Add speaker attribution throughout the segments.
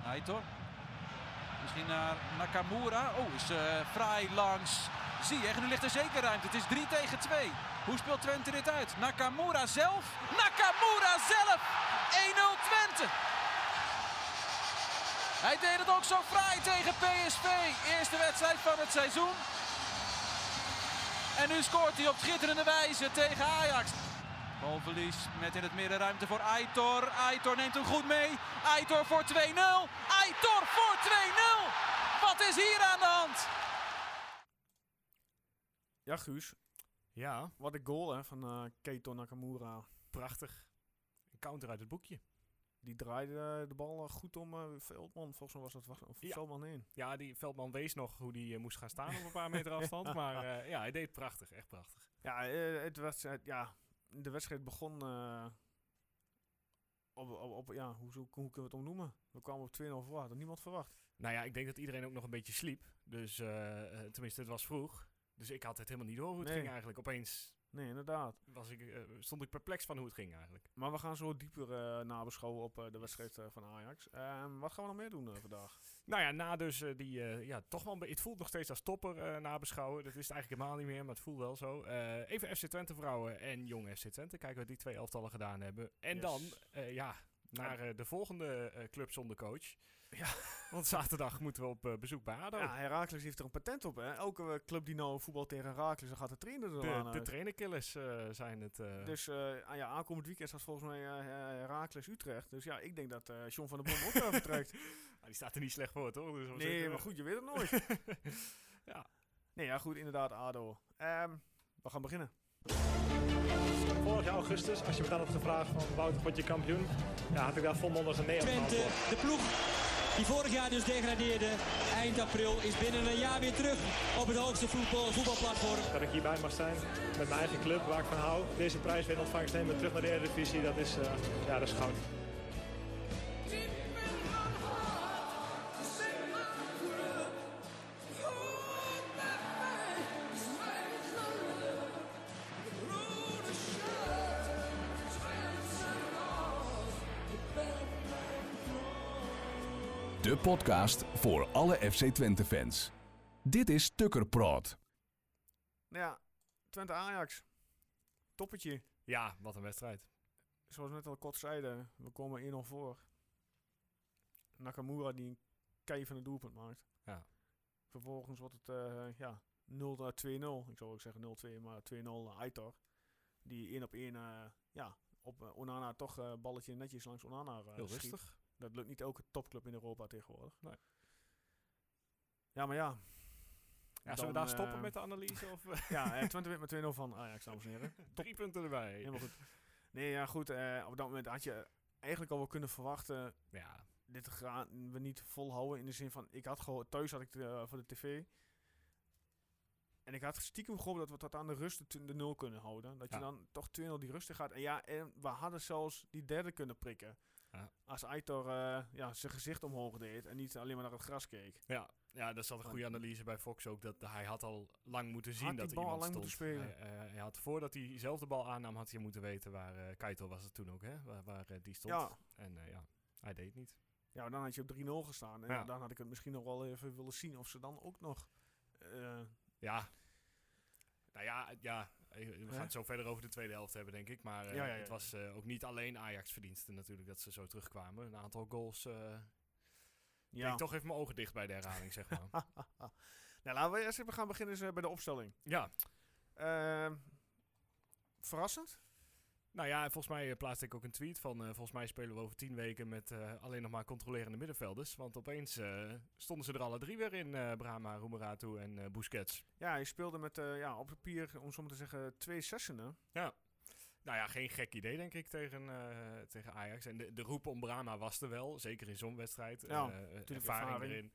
Speaker 1: Aitor. Misschien naar Nakamura. Oh, is vrij fraai langs Ziyech. Nu ligt er zeker ruimte. Het is 3 tegen 2. Hoe speelt Twente dit uit? Nakamura zelf. Nakamura zelf! 1-0 Twente. Hij deed het ook zo fraai tegen PSV. Eerste wedstrijd van het seizoen. En nu scoort hij op schitterende wijze tegen Ajax. Balverlies met in het midden ruimte voor Aitor. Aitor neemt hem goed mee. Aitor voor 2-0. Aitor voor 2-0. Wat is hier aan de hand?
Speaker 2: Ja, Guus.
Speaker 3: Ja,
Speaker 2: Wat een goal hè, van eh Keito Nakamura.
Speaker 3: prachtig. Een counter uit het boekje.
Speaker 2: Die draaide eh, de bal eh, goed om eh, Veldman. Volgens mij was dat was, of
Speaker 3: Ja.
Speaker 2: Veldman heen.
Speaker 3: Ja, die Veldman wees nog hoe die eh, moest gaan staan op een paar meter afstand. Maar eh, ja, hij deed het prachtig. Echt prachtig.
Speaker 2: Ja, eh, het wedstrijd, ja, de wedstrijd begon eh, op, op, op- ja, hoe, hoe, hoe kunnen we het omnoemen? We kwamen op 2-0 voor, had er niemand verwacht.
Speaker 3: Nou ja, ik denk dat iedereen ook nog een beetje sliep. Dus, eh, eh, tenminste, het was vroeg. Dus ik had het helemaal niet door hoe het
Speaker 2: Nee.
Speaker 3: ging eigenlijk. Opeens
Speaker 2: Nee, inderdaad.
Speaker 3: was ik, eh, stond ik perplex van hoe het ging eigenlijk.
Speaker 2: Maar we gaan zo dieper eh, nabeschouwen op eh, de wedstrijd eh, van Ajax. Ehm, wat gaan we nog meer doen eh, vandaag?
Speaker 3: Nou ja, na dus eh, die, eh, ja, toch wel, een be- het voelt nog steeds als topper eh, nabeschouwen. Dat is het eigenlijk helemaal niet meer, maar het voelt wel zo. Eh, even FC Twente vrouwen en jong FC Twente. Kijken wat die twee elftallen gedaan hebben. En
Speaker 2: Yes.
Speaker 3: dan, eh, ja, naar eh, de volgende eh, club zonder coach. Ja. Want zaterdag moeten we op eh, bezoek bij ADO.
Speaker 2: Ja, Herakles heeft er een patent op. Hè? Elke eh, club die nou voetbal tegen Herakles, dan gaat de trainer er
Speaker 3: de,
Speaker 2: aan
Speaker 3: de
Speaker 2: uit.
Speaker 3: trainerkillers eh, zijn het. eh.
Speaker 2: Dus eh, ah ja, aankomend weekend staat volgens mij eh Herakles Utrecht. Dus ja, ik denk dat eh John van der Bom ook eh, vertrekt.
Speaker 3: Ah, die staat er niet slecht voor, toch? Dus we
Speaker 2: Nee,
Speaker 3: zitten-
Speaker 2: maar goed, je weet het nooit.
Speaker 3: Ja.
Speaker 2: Nee, ja, goed, inderdaad, Ado. Ehm, we gaan beginnen.
Speaker 4: Vorig jaar augustus, als je me dan op de vraag van Wouter, word je kampioen? Ja, had ik daar volmondig een nee op
Speaker 5: Twente,
Speaker 4: geantwoord.
Speaker 5: de ploeg die vorig jaar dus degradeerde, eind april is binnen een jaar weer terug op het hoogste voetbal, voetbalplatform.
Speaker 4: Dat ik hierbij mag zijn met mijn eigen club, waar ik van hou. Deze prijs weer in ontvangst nemen, terug naar de Eredivisie, dat is, eh, ja, dat is goud.
Speaker 6: De podcast voor alle FC Twente fans. Dit is Tukker Praat.
Speaker 2: Nou ja, Twente Ajax. Toppetje.
Speaker 3: Ja, wat een wedstrijd.
Speaker 2: Zoals we net al kort zeiden, we komen 1-0 voor. Nakamura die een kei van het doelpunt maakt.
Speaker 3: Ja.
Speaker 2: Vervolgens wordt het eh, ja, 0 naar 2-0. Ik zou ook zeggen 0-2, maar 2-0 naar Aitor. Die 1 op 1 eh, ja, op eh, Onana toch eh, balletje netjes langs Onana eh,
Speaker 3: Heel
Speaker 2: schiet.
Speaker 3: rustig.
Speaker 2: Dat lukt niet elke topclub in Europa tegenwoordig.
Speaker 3: Nee.
Speaker 2: Ja, maar ja.
Speaker 3: Ja, zullen we
Speaker 2: Dan,
Speaker 3: daar stoppen
Speaker 2: eh,
Speaker 3: met de analyse? Of, eh,
Speaker 2: Ja, eh, Twente wint met 2-0 van Ajax, dames en heren.
Speaker 3: drie punten erbij.
Speaker 2: Helemaal goed. Nee, ja, goed. eh, op dat moment had je eigenlijk al wel kunnen verwachten...
Speaker 3: Ja,
Speaker 2: Dit gaan we niet volhouden in de zin van... Ik had gewoon... Thuis had ik eh, voor de tv... En ik had stiekem gehoopt dat we tot aan de rust de tu- de nul kunnen houden. Dat je
Speaker 3: Ja.
Speaker 2: dan toch 2-0 die rust in gaat. En ja, en we hadden zelfs die derde kunnen prikken.
Speaker 3: Ja.
Speaker 2: Als Aitor eh, ja, zijn gezicht omhoog deed en niet alleen maar naar het gras keek.
Speaker 3: Ja, ja, daar zat een goede analyse bij Fox ook. Dat hij had al lang moeten zien
Speaker 2: Had die
Speaker 3: dat
Speaker 2: bal
Speaker 3: iemand
Speaker 2: al lang
Speaker 3: stond.
Speaker 2: moeten spelen.
Speaker 3: Hij, eh, hij had voordat hij zelf de bal aannam, had hij moeten weten waar eh, Keito was het toen ook, hè? Waar, waar eh, die stond.
Speaker 2: Ja.
Speaker 3: En eh, ja, hij deed het niet.
Speaker 2: Ja, maar dan had je op 3-0 gestaan. En
Speaker 3: Ja.
Speaker 2: dan had ik het misschien nog wel even willen zien of ze dan ook nog. eh,
Speaker 3: Ja. Nou ja, ja, eh, we gaan
Speaker 2: Hè?
Speaker 3: het zo verder over de tweede helft hebben, denk ik. Maar eh,
Speaker 2: Ja, ja, ja.
Speaker 3: het was eh, ook niet alleen Ajax verdiensten natuurlijk dat ze zo terugkwamen. Een aantal goals. eh
Speaker 2: ja.
Speaker 3: Ik toch even mijn ogen dicht bij de herhaling, zeg maar.
Speaker 2: Nou, laten we eerst even gaan beginnen dus, eh, bij de opstelling.
Speaker 3: ja,
Speaker 2: Ehm, verrassend.
Speaker 3: Nou ja, volgens mij eh, plaatste ik ook een tweet van... eh, volgens mij spelen we over tien weken met eh, alleen nog maar controlerende middenvelders. Want opeens eh, stonden ze er alle drie weer in. eh Brahma, Roemeratu en eh, Busquets.
Speaker 2: Ja, hij speelde met eh, ja, op papier, om zo maar te zeggen, twee zessenden.
Speaker 3: Ja. Nou ja, geen gek idee denk ik tegen, eh, tegen Ajax. En de, de roep om Brahma was er wel. Zeker in zo'n wedstrijd.
Speaker 2: Ja,
Speaker 3: Eh, eh, ervaring,
Speaker 2: ervaring.
Speaker 3: erin.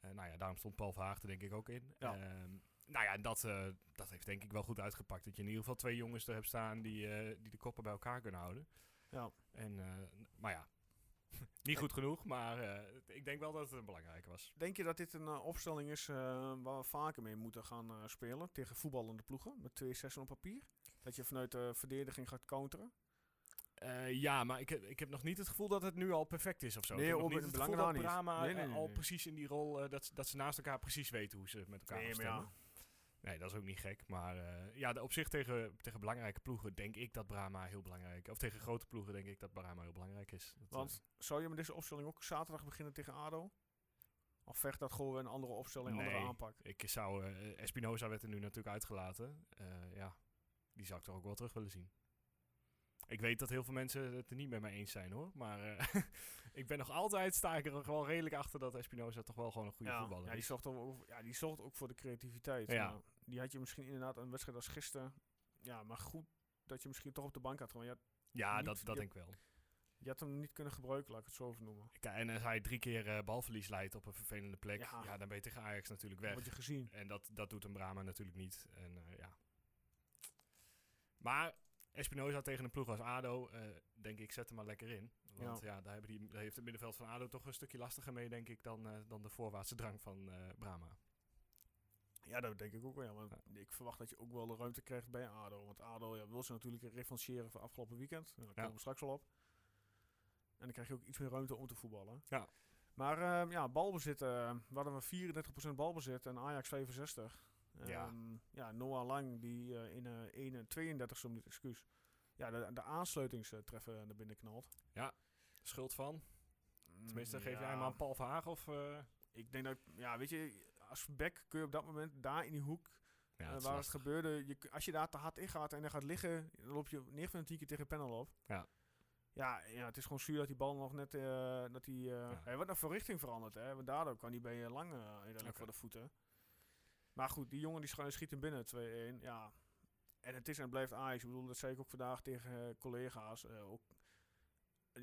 Speaker 3: Eh, nou ja, daarom stond Paul Verhaag er denk ik ook in.
Speaker 2: Ja.
Speaker 3: Ehm, nou ja, en dat, eh, dat heeft denk ik wel goed uitgepakt. Dat je in ieder geval twee jongens er hebt staan die, eh, die de koppen bij elkaar kunnen houden.
Speaker 2: Ja.
Speaker 3: En, eh, maar ja, niet goed genoeg, maar eh, ik denk wel dat het belangrijk was.
Speaker 2: Denk je dat dit een eh, opstelling is eh, waar we vaker mee moeten gaan eh, spelen? Tegen voetballende ploegen, met twee zessen op papier? Dat je vanuit de verdediging gaat counteren?
Speaker 3: Eh, ja, maar ik heb, ik heb nog niet het gevoel dat het nu al perfect is of zo.
Speaker 2: Nee,
Speaker 3: ik heb nog
Speaker 2: op-
Speaker 3: niet
Speaker 2: het
Speaker 3: het gevoel
Speaker 2: belang
Speaker 3: dat
Speaker 2: daar niet.
Speaker 3: Brahma
Speaker 2: Nee, nee,
Speaker 3: eh,
Speaker 2: nee,
Speaker 3: al
Speaker 2: nee.
Speaker 3: precies in die rol, eh, dat, ze- dat ze naast elkaar precies weten hoe ze met elkaar gaan
Speaker 2: Nee, maar
Speaker 3: stemmen.
Speaker 2: ja.
Speaker 3: Nee, dat is ook niet gek. Maar eh, ja, de- op zich tegen, tegen belangrijke ploegen denk ik dat Brahma heel belangrijk... Of tegen grote ploegen denk ik dat Brahma heel belangrijk is. Dat, eh,
Speaker 2: Want zou je met deze opstelling ook zaterdag beginnen tegen ADO? Of vecht dat gewoon weer een andere opstelling, een
Speaker 3: Nee.
Speaker 2: andere aanpak?
Speaker 3: ik zou... eh, Espinoza werd er nu natuurlijk uitgelaten. Eh, ja, die zou ik toch ook wel terug willen zien. Ik weet dat heel veel mensen het er niet met mij eens zijn hoor. Maar eh, ik ben nog altijd, sta ik er wel redelijk achter dat Espinoza toch wel gewoon een goede
Speaker 2: Ja,
Speaker 3: voetballer
Speaker 2: ja,
Speaker 3: is.
Speaker 2: die zorgt ook, ja, die zorgt ook voor de creativiteit.
Speaker 3: Ja.
Speaker 2: maar die had je misschien inderdaad een wedstrijd als gisteren. Ja, maar goed dat je misschien toch op de bank had. gewoon. Je, had,
Speaker 3: Ja,
Speaker 2: Niet-
Speaker 3: dat, dat
Speaker 2: je-
Speaker 3: denk ik wel.
Speaker 2: je had hem niet kunnen gebruiken, laat ik het zo even noemen.
Speaker 3: Kijk, En als hij drie keer eh, balverlies leidt op een vervelende plek, ja.
Speaker 2: Ja.
Speaker 3: dan ben je tegen Ajax natuurlijk
Speaker 2: Dat
Speaker 3: weg.
Speaker 2: Wat je gezien.
Speaker 3: En dat, dat doet een Brahma natuurlijk niet. En, eh, ja. Maar Espinoza tegen een ploeg als ADO, eh, denk ik, zet hem maar lekker in. Want ja, daar, hebben die, daar heeft het middenveld van ADO toch een stukje lastiger mee, denk ik, dan, eh, dan de voorwaartse drang van eh Brahma.
Speaker 2: Ja, dat denk ik ook wel. Ja, want
Speaker 3: Ja.
Speaker 2: Ik verwacht dat je ook wel de ruimte krijgt bij ADO. Want ADO ja, wil ze natuurlijk revancheren van afgelopen weekend. Nou, daar komen we straks al op. En dan krijg je ook iets meer ruimte om te voetballen.
Speaker 3: Ja.
Speaker 2: Maar ehm, ja, balbezit. eh, we hadden we 34% balbezit en Ajax 65.
Speaker 3: Ja.
Speaker 2: Ehm, ja, Noah Lang die eh, in eh 31 e minuut, excuus. Ja, de, de aansluitingstreffen eh, naar binnen knalt. Mm,
Speaker 3: Schuld van? Tenminste, geef jij
Speaker 2: Ja,
Speaker 3: hem aan Paul Verhaag of... eh
Speaker 2: Ik denk dat, ja, weet je, als back kun je op dat moment daar in die hoek
Speaker 3: ja,
Speaker 2: Eh, waar het gebeurde, je, k- als je daar te hard in gaat en dan gaat liggen, dan loop je 9 van de 10 keer tegen panel op.
Speaker 3: Ja.
Speaker 2: Ja, ja, het is gewoon zuur dat die bal nog net. eh, dat die, eh, Hij wordt naar verrichting veranderd, hè? Want daardoor kan die bij je lang eh, redelijk
Speaker 3: Oké.
Speaker 2: voor de voeten. Maar goed, die jongen die schu- schiet hem binnen 2-1. Ja. En het is en blijft Ajax. Ik bedoel, dat zei ik ook vandaag tegen eh, collega's. eh, ook. Die-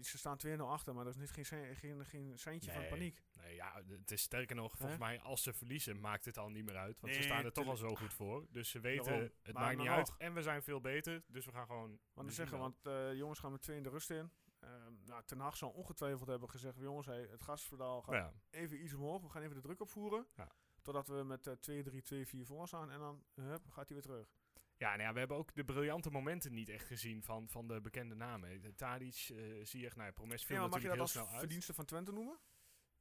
Speaker 2: Ze staan 2-0 achter, maar er is niet geen, sein- geen, geen seintje
Speaker 3: Nee.
Speaker 2: van paniek.
Speaker 3: Nee, ja, d- het is sterker nog, volgens mij, als ze verliezen, maakt het al niet meer uit. Want ze
Speaker 2: Nee,
Speaker 3: staan er toch al zo goed voor. Dus ze weten,
Speaker 2: Daarom.
Speaker 3: het
Speaker 2: Maar
Speaker 3: maakt
Speaker 2: dan
Speaker 3: niet uit.
Speaker 2: nog.
Speaker 3: En we zijn veel beter, dus we gaan gewoon...
Speaker 2: Want
Speaker 3: we
Speaker 2: ik
Speaker 3: zien
Speaker 2: zeggen,
Speaker 3: wel.
Speaker 2: want eh, de jongens gaan met twee in de rust in. Ehm nou, Ten Hag zal ongetwijfeld hebben gezegd, jongens, hey, het gaspedaal gaat
Speaker 3: Nou ja,
Speaker 2: even iets omhoog. We gaan even de druk opvoeren.
Speaker 3: Ja.
Speaker 2: Totdat we met eh 2-3, 2-4 voor staan. En dan hup, gaat hij weer terug.
Speaker 3: Ja, nou ja, we hebben ook de briljante momenten niet echt gezien van, van de bekende namen. De Tadic, eh Ziyech, nou ja, Promes viel
Speaker 2: Ja, maar mag je
Speaker 3: natuurlijk
Speaker 2: dat als
Speaker 3: heel snel uit.
Speaker 2: verdienste van Twente noemen?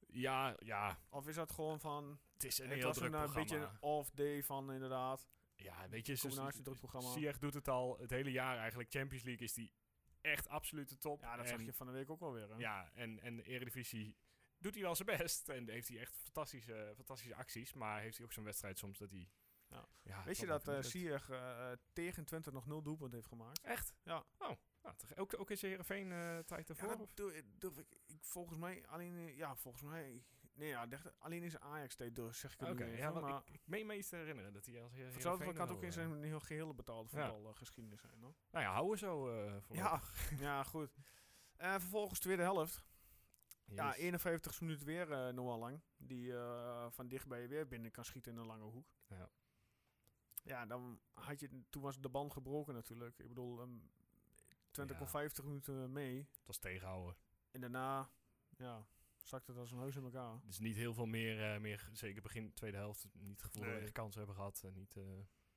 Speaker 3: Ja, ja,
Speaker 2: Of is dat gewoon van...
Speaker 3: het is een
Speaker 2: het
Speaker 3: heel
Speaker 2: was
Speaker 3: druk
Speaker 2: een eh,
Speaker 3: programma.
Speaker 2: beetje een off-day van inderdaad.
Speaker 3: ja, weet je,
Speaker 2: combinatie druk programma.
Speaker 3: Ziyech doet het al het hele jaar eigenlijk. Champions League is die echt absolute top.
Speaker 2: Ja, dat
Speaker 3: en,
Speaker 2: zag je van de week ook wel weer. Hè?
Speaker 3: Ja, en, en de Eredivisie doet hij wel zijn best. En heeft hij echt fantastische, fantastische acties. Maar heeft hij ook zo'n wedstrijd soms dat hij...
Speaker 2: Ja.
Speaker 3: ja,
Speaker 2: Weet je
Speaker 3: dan
Speaker 2: dat
Speaker 3: even
Speaker 2: eh
Speaker 3: niet lukt.
Speaker 2: Ziyech eh, eh, tegen Twente nog nul doelpunt heeft gemaakt?
Speaker 3: Echt?
Speaker 2: Ja.
Speaker 3: Oh, nou, toch- ook, ook in zijn Heerenveen eh, tijd
Speaker 2: Ja,
Speaker 3: ervoor?
Speaker 2: dat
Speaker 3: of?
Speaker 2: doe- eh, durf ik, ik volgens mij alleen eh, ja volgens mij nee ja dacht- alleen in zijn Ajax deed door zeg ik het
Speaker 3: Oké,
Speaker 2: nu even,
Speaker 3: ja, want
Speaker 2: maar
Speaker 3: ik, ik meen me iets te herinneren dat hij als Heer-
Speaker 2: het zou
Speaker 3: Heerenveen
Speaker 2: kan het
Speaker 3: wel,
Speaker 2: ook in
Speaker 3: eh,
Speaker 2: zijn heel gehele betaalde
Speaker 3: Ja.
Speaker 2: voetbalgeschiedenis zijn hoor.
Speaker 3: Nou ja, houden zo eh voor
Speaker 2: ja ja goed en vervolgens tweede helft ja 51 minuten weer eh Noah Lang die eh, van dichtbij weer binnen kan schieten in een lange hoek
Speaker 3: Ja.
Speaker 2: ja dan had je toen was de band gebroken natuurlijk ik bedoel ehm Twente
Speaker 3: Ja.
Speaker 2: kon 50 minuten mee
Speaker 3: Het was tegenhouden.
Speaker 2: en daarna ja zakte het als een huis in elkaar
Speaker 3: Dus niet heel veel meer, eh, meer zeker begin tweede helft, niet het gevoel dat
Speaker 2: Nee.
Speaker 3: we echt kansen hebben gehad. En niet, eh, nee,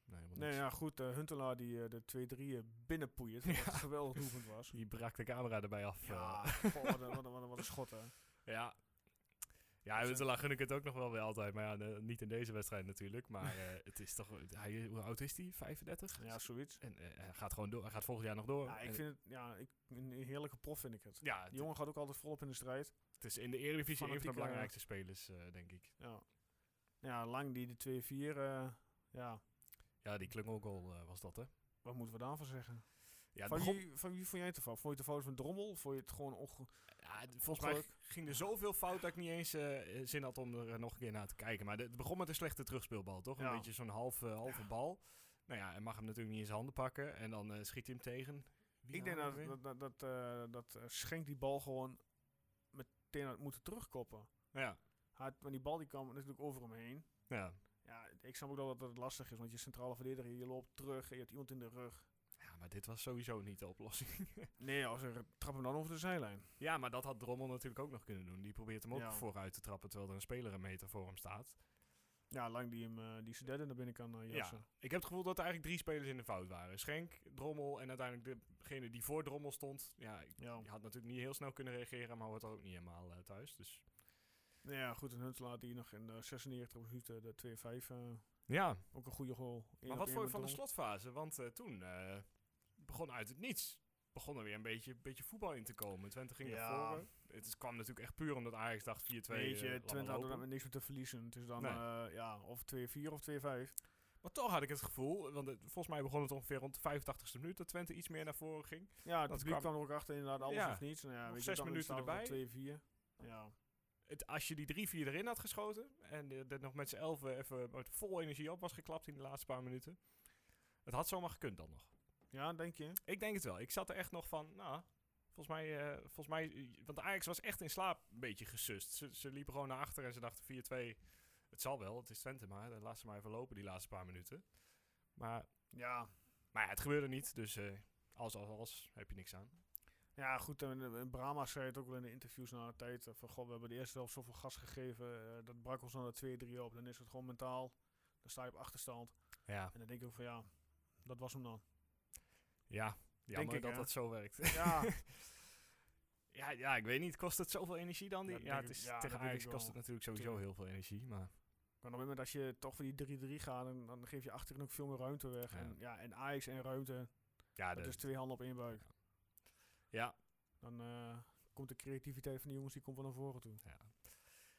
Speaker 3: helemaal
Speaker 2: Nee,
Speaker 3: niks.
Speaker 2: ja, goed. eh, Huntelaar die eh, de 2-3 binnenpoeiert. Wat een geweldig doelpunt was.
Speaker 3: Die brak de camera erbij af.
Speaker 2: Ja,
Speaker 3: eh.
Speaker 2: goh, wat, een, wat, een, wat, een, wat een schot, hè.
Speaker 3: ja. Ja,
Speaker 2: Dus, eh,
Speaker 3: Huntelaar gun ik het ook nog wel weer altijd. Maar ja, eh, niet in deze wedstrijd natuurlijk. Maar eh, het is toch... Hij, hoe oud is hij? 35?
Speaker 2: Ja, zoiets.
Speaker 3: En eh, hij gaat gewoon door. Hij gaat volgend jaar nog door.
Speaker 2: Ja, ik
Speaker 3: En-
Speaker 2: vind het, ja, ik, een heerlijke prof vind ik het.
Speaker 3: ja, het-
Speaker 2: Die jongen gaat ook altijd volop in de strijd.
Speaker 3: het is in de Eredivisie een van de
Speaker 2: Fanatieke-
Speaker 3: belangrijkste spelers, eh, denk ik.
Speaker 2: Ja, ja Lang die de 2-4, eh, ja,
Speaker 3: Ja, die klungelgoal eh was dat, hè?
Speaker 2: wat moeten we daarvan zeggen?
Speaker 3: Ja, het
Speaker 2: van,
Speaker 3: begon-
Speaker 2: wie, van wie vond jij het ervan? Vond je het de fout van Drommel? Vond je het gewoon onge...
Speaker 3: Ja, d- volgens mij
Speaker 2: Ongeluk.
Speaker 3: ging er zoveel fout dat ik niet eens eh, eh, zin had om er eh, nog een keer naar te kijken. Maar de- het begon met een slechte terugspeelbal, toch? Een
Speaker 2: Ja.
Speaker 3: beetje zo'n halve, eh, halve bal. Nou ja, hij mag hem natuurlijk niet in zijn handen pakken. En dan eh, schiet hij hem tegen. Wie
Speaker 2: Ik
Speaker 3: nou
Speaker 2: denk dat,
Speaker 3: weer?
Speaker 2: dat, dat, dat, eh, dat eh, Schenk die bal gewoon meteen had moeten terugkoppen.
Speaker 3: Ja,
Speaker 2: Hij had- Want die bal die kwam natuurlijk over hem heen.
Speaker 3: ja.
Speaker 2: Ja, ik snap ook wel dat het lastig is, want je centrale verdediger, je loopt terug en je hebt iemand in de rug.
Speaker 3: ja, maar dit was sowieso niet de oplossing.
Speaker 2: Nee, als er trap hem dan over de zijlijn.
Speaker 3: ja, maar dat had Drommel natuurlijk ook nog kunnen doen. Die probeert hem ook
Speaker 2: Ja.
Speaker 3: vooruit te trappen, terwijl er een speler een meter voor hem staat.
Speaker 2: Ja, lang die hem eh, die zijn derde naar binnen kan eh,
Speaker 3: Ja,
Speaker 2: jassen.
Speaker 3: ik heb het gevoel dat er eigenlijk drie spelers in de fout waren. Schenk, Drommel en uiteindelijk degene die voor Drommel stond. Ja, ik-
Speaker 2: Ja.
Speaker 3: je had natuurlijk niet heel snel kunnen reageren, maar hoort ook niet helemaal eh, thuis. Dus
Speaker 2: Nou ja, goed. En Huntelaar laat die nog in de 96 minuten de 2-5. eh,
Speaker 3: ja,
Speaker 2: ook een goede goal. Eén
Speaker 3: maar
Speaker 2: op
Speaker 3: wat
Speaker 2: één
Speaker 3: vond je
Speaker 2: met
Speaker 3: van de
Speaker 2: Drommel.
Speaker 3: slotfase? Want eh, toen eh, begon uit het niets. Begon er weer een beetje, beetje voetbal in te komen. Twente ging
Speaker 2: Ja.
Speaker 3: naar voren. Het is, kwam natuurlijk echt puur omdat Ajax dacht 4-2.
Speaker 2: Weet
Speaker 3: eh,
Speaker 2: je,
Speaker 3: laat maar
Speaker 2: Twente had er
Speaker 3: lopen.
Speaker 2: dan niks meer te verliezen. Het is dan
Speaker 3: Nee.
Speaker 2: eh, ja, of 2-4 of 2-5.
Speaker 3: Maar toch had ik het gevoel, want het- volgens mij begon het ongeveer rond de 85ste minuut dat Twente iets meer naar voren ging.
Speaker 2: Ja, het
Speaker 3: Dat
Speaker 2: publiek
Speaker 3: kwam-
Speaker 2: kwam er ook achter inderdaad alles
Speaker 3: Ja,
Speaker 2: of niets. Nou ja,
Speaker 3: nog
Speaker 2: weet je,
Speaker 3: zes
Speaker 2: dan
Speaker 3: minuten
Speaker 2: staat het
Speaker 3: erbij.
Speaker 2: op 2-4. Ja.
Speaker 3: Het, als je die 3-4 erin had geschoten en eh, dat nog met z'n elfen even met vol energie op was geklapt in de laatste paar minuten. Het had zomaar gekund dan nog.
Speaker 2: ja, denk je?
Speaker 3: Ik denk het wel. Ik zat er echt nog van, nou, volgens mij, eh, volgens mij want Ajax was echt in slaap een beetje gesust. Ze, ze liepen gewoon naar achter en ze dachten 4-2, het zal wel, het is Twente maar, dan laat ze maar even lopen die laatste paar minuten. Maar,
Speaker 2: Ja.
Speaker 3: maar ja, het gebeurde niet, dus eh, als, als, als, heb je niks aan.
Speaker 2: Ja, goed. En, eh, Brahma zei het ook wel in de interviews na de tijd. eh, Van, god, we hebben de eerste helft zoveel gas gegeven. eh, dat brak ons dan de 2-3 op. Dan is het gewoon mentaal. Dan sta je op achterstand.
Speaker 3: Ja,
Speaker 2: En dan denk ik ook van, ja, dat was hem dan.
Speaker 3: ja. Jammer
Speaker 2: ik,
Speaker 3: dat
Speaker 2: hè?
Speaker 3: dat zo werkt.
Speaker 2: Ja.
Speaker 3: ja, ja, ik weet niet. Kost het zoveel energie dan? Die?
Speaker 2: Ja,
Speaker 3: Ja,
Speaker 2: denk
Speaker 3: het
Speaker 2: ik-
Speaker 3: is,
Speaker 2: ja, dat
Speaker 3: tegen
Speaker 2: weet
Speaker 3: Ajax
Speaker 2: ik
Speaker 3: kost
Speaker 2: wel.
Speaker 3: het natuurlijk sowieso
Speaker 2: Tuurlijk.
Speaker 3: heel veel energie. Maar
Speaker 2: Maar op het moment dat je toch voor die 3-3 gaat, dan, dan geef je achterin ook veel meer ruimte weg.
Speaker 3: Ja.
Speaker 2: En, ja, en Ajax en ruimte,
Speaker 3: ja,
Speaker 2: dat
Speaker 3: de-
Speaker 2: is twee handen op één buik.
Speaker 3: ja,
Speaker 2: Dan eh, komt de creativiteit van die jongens die komt wel naar voren toe.
Speaker 3: Ja.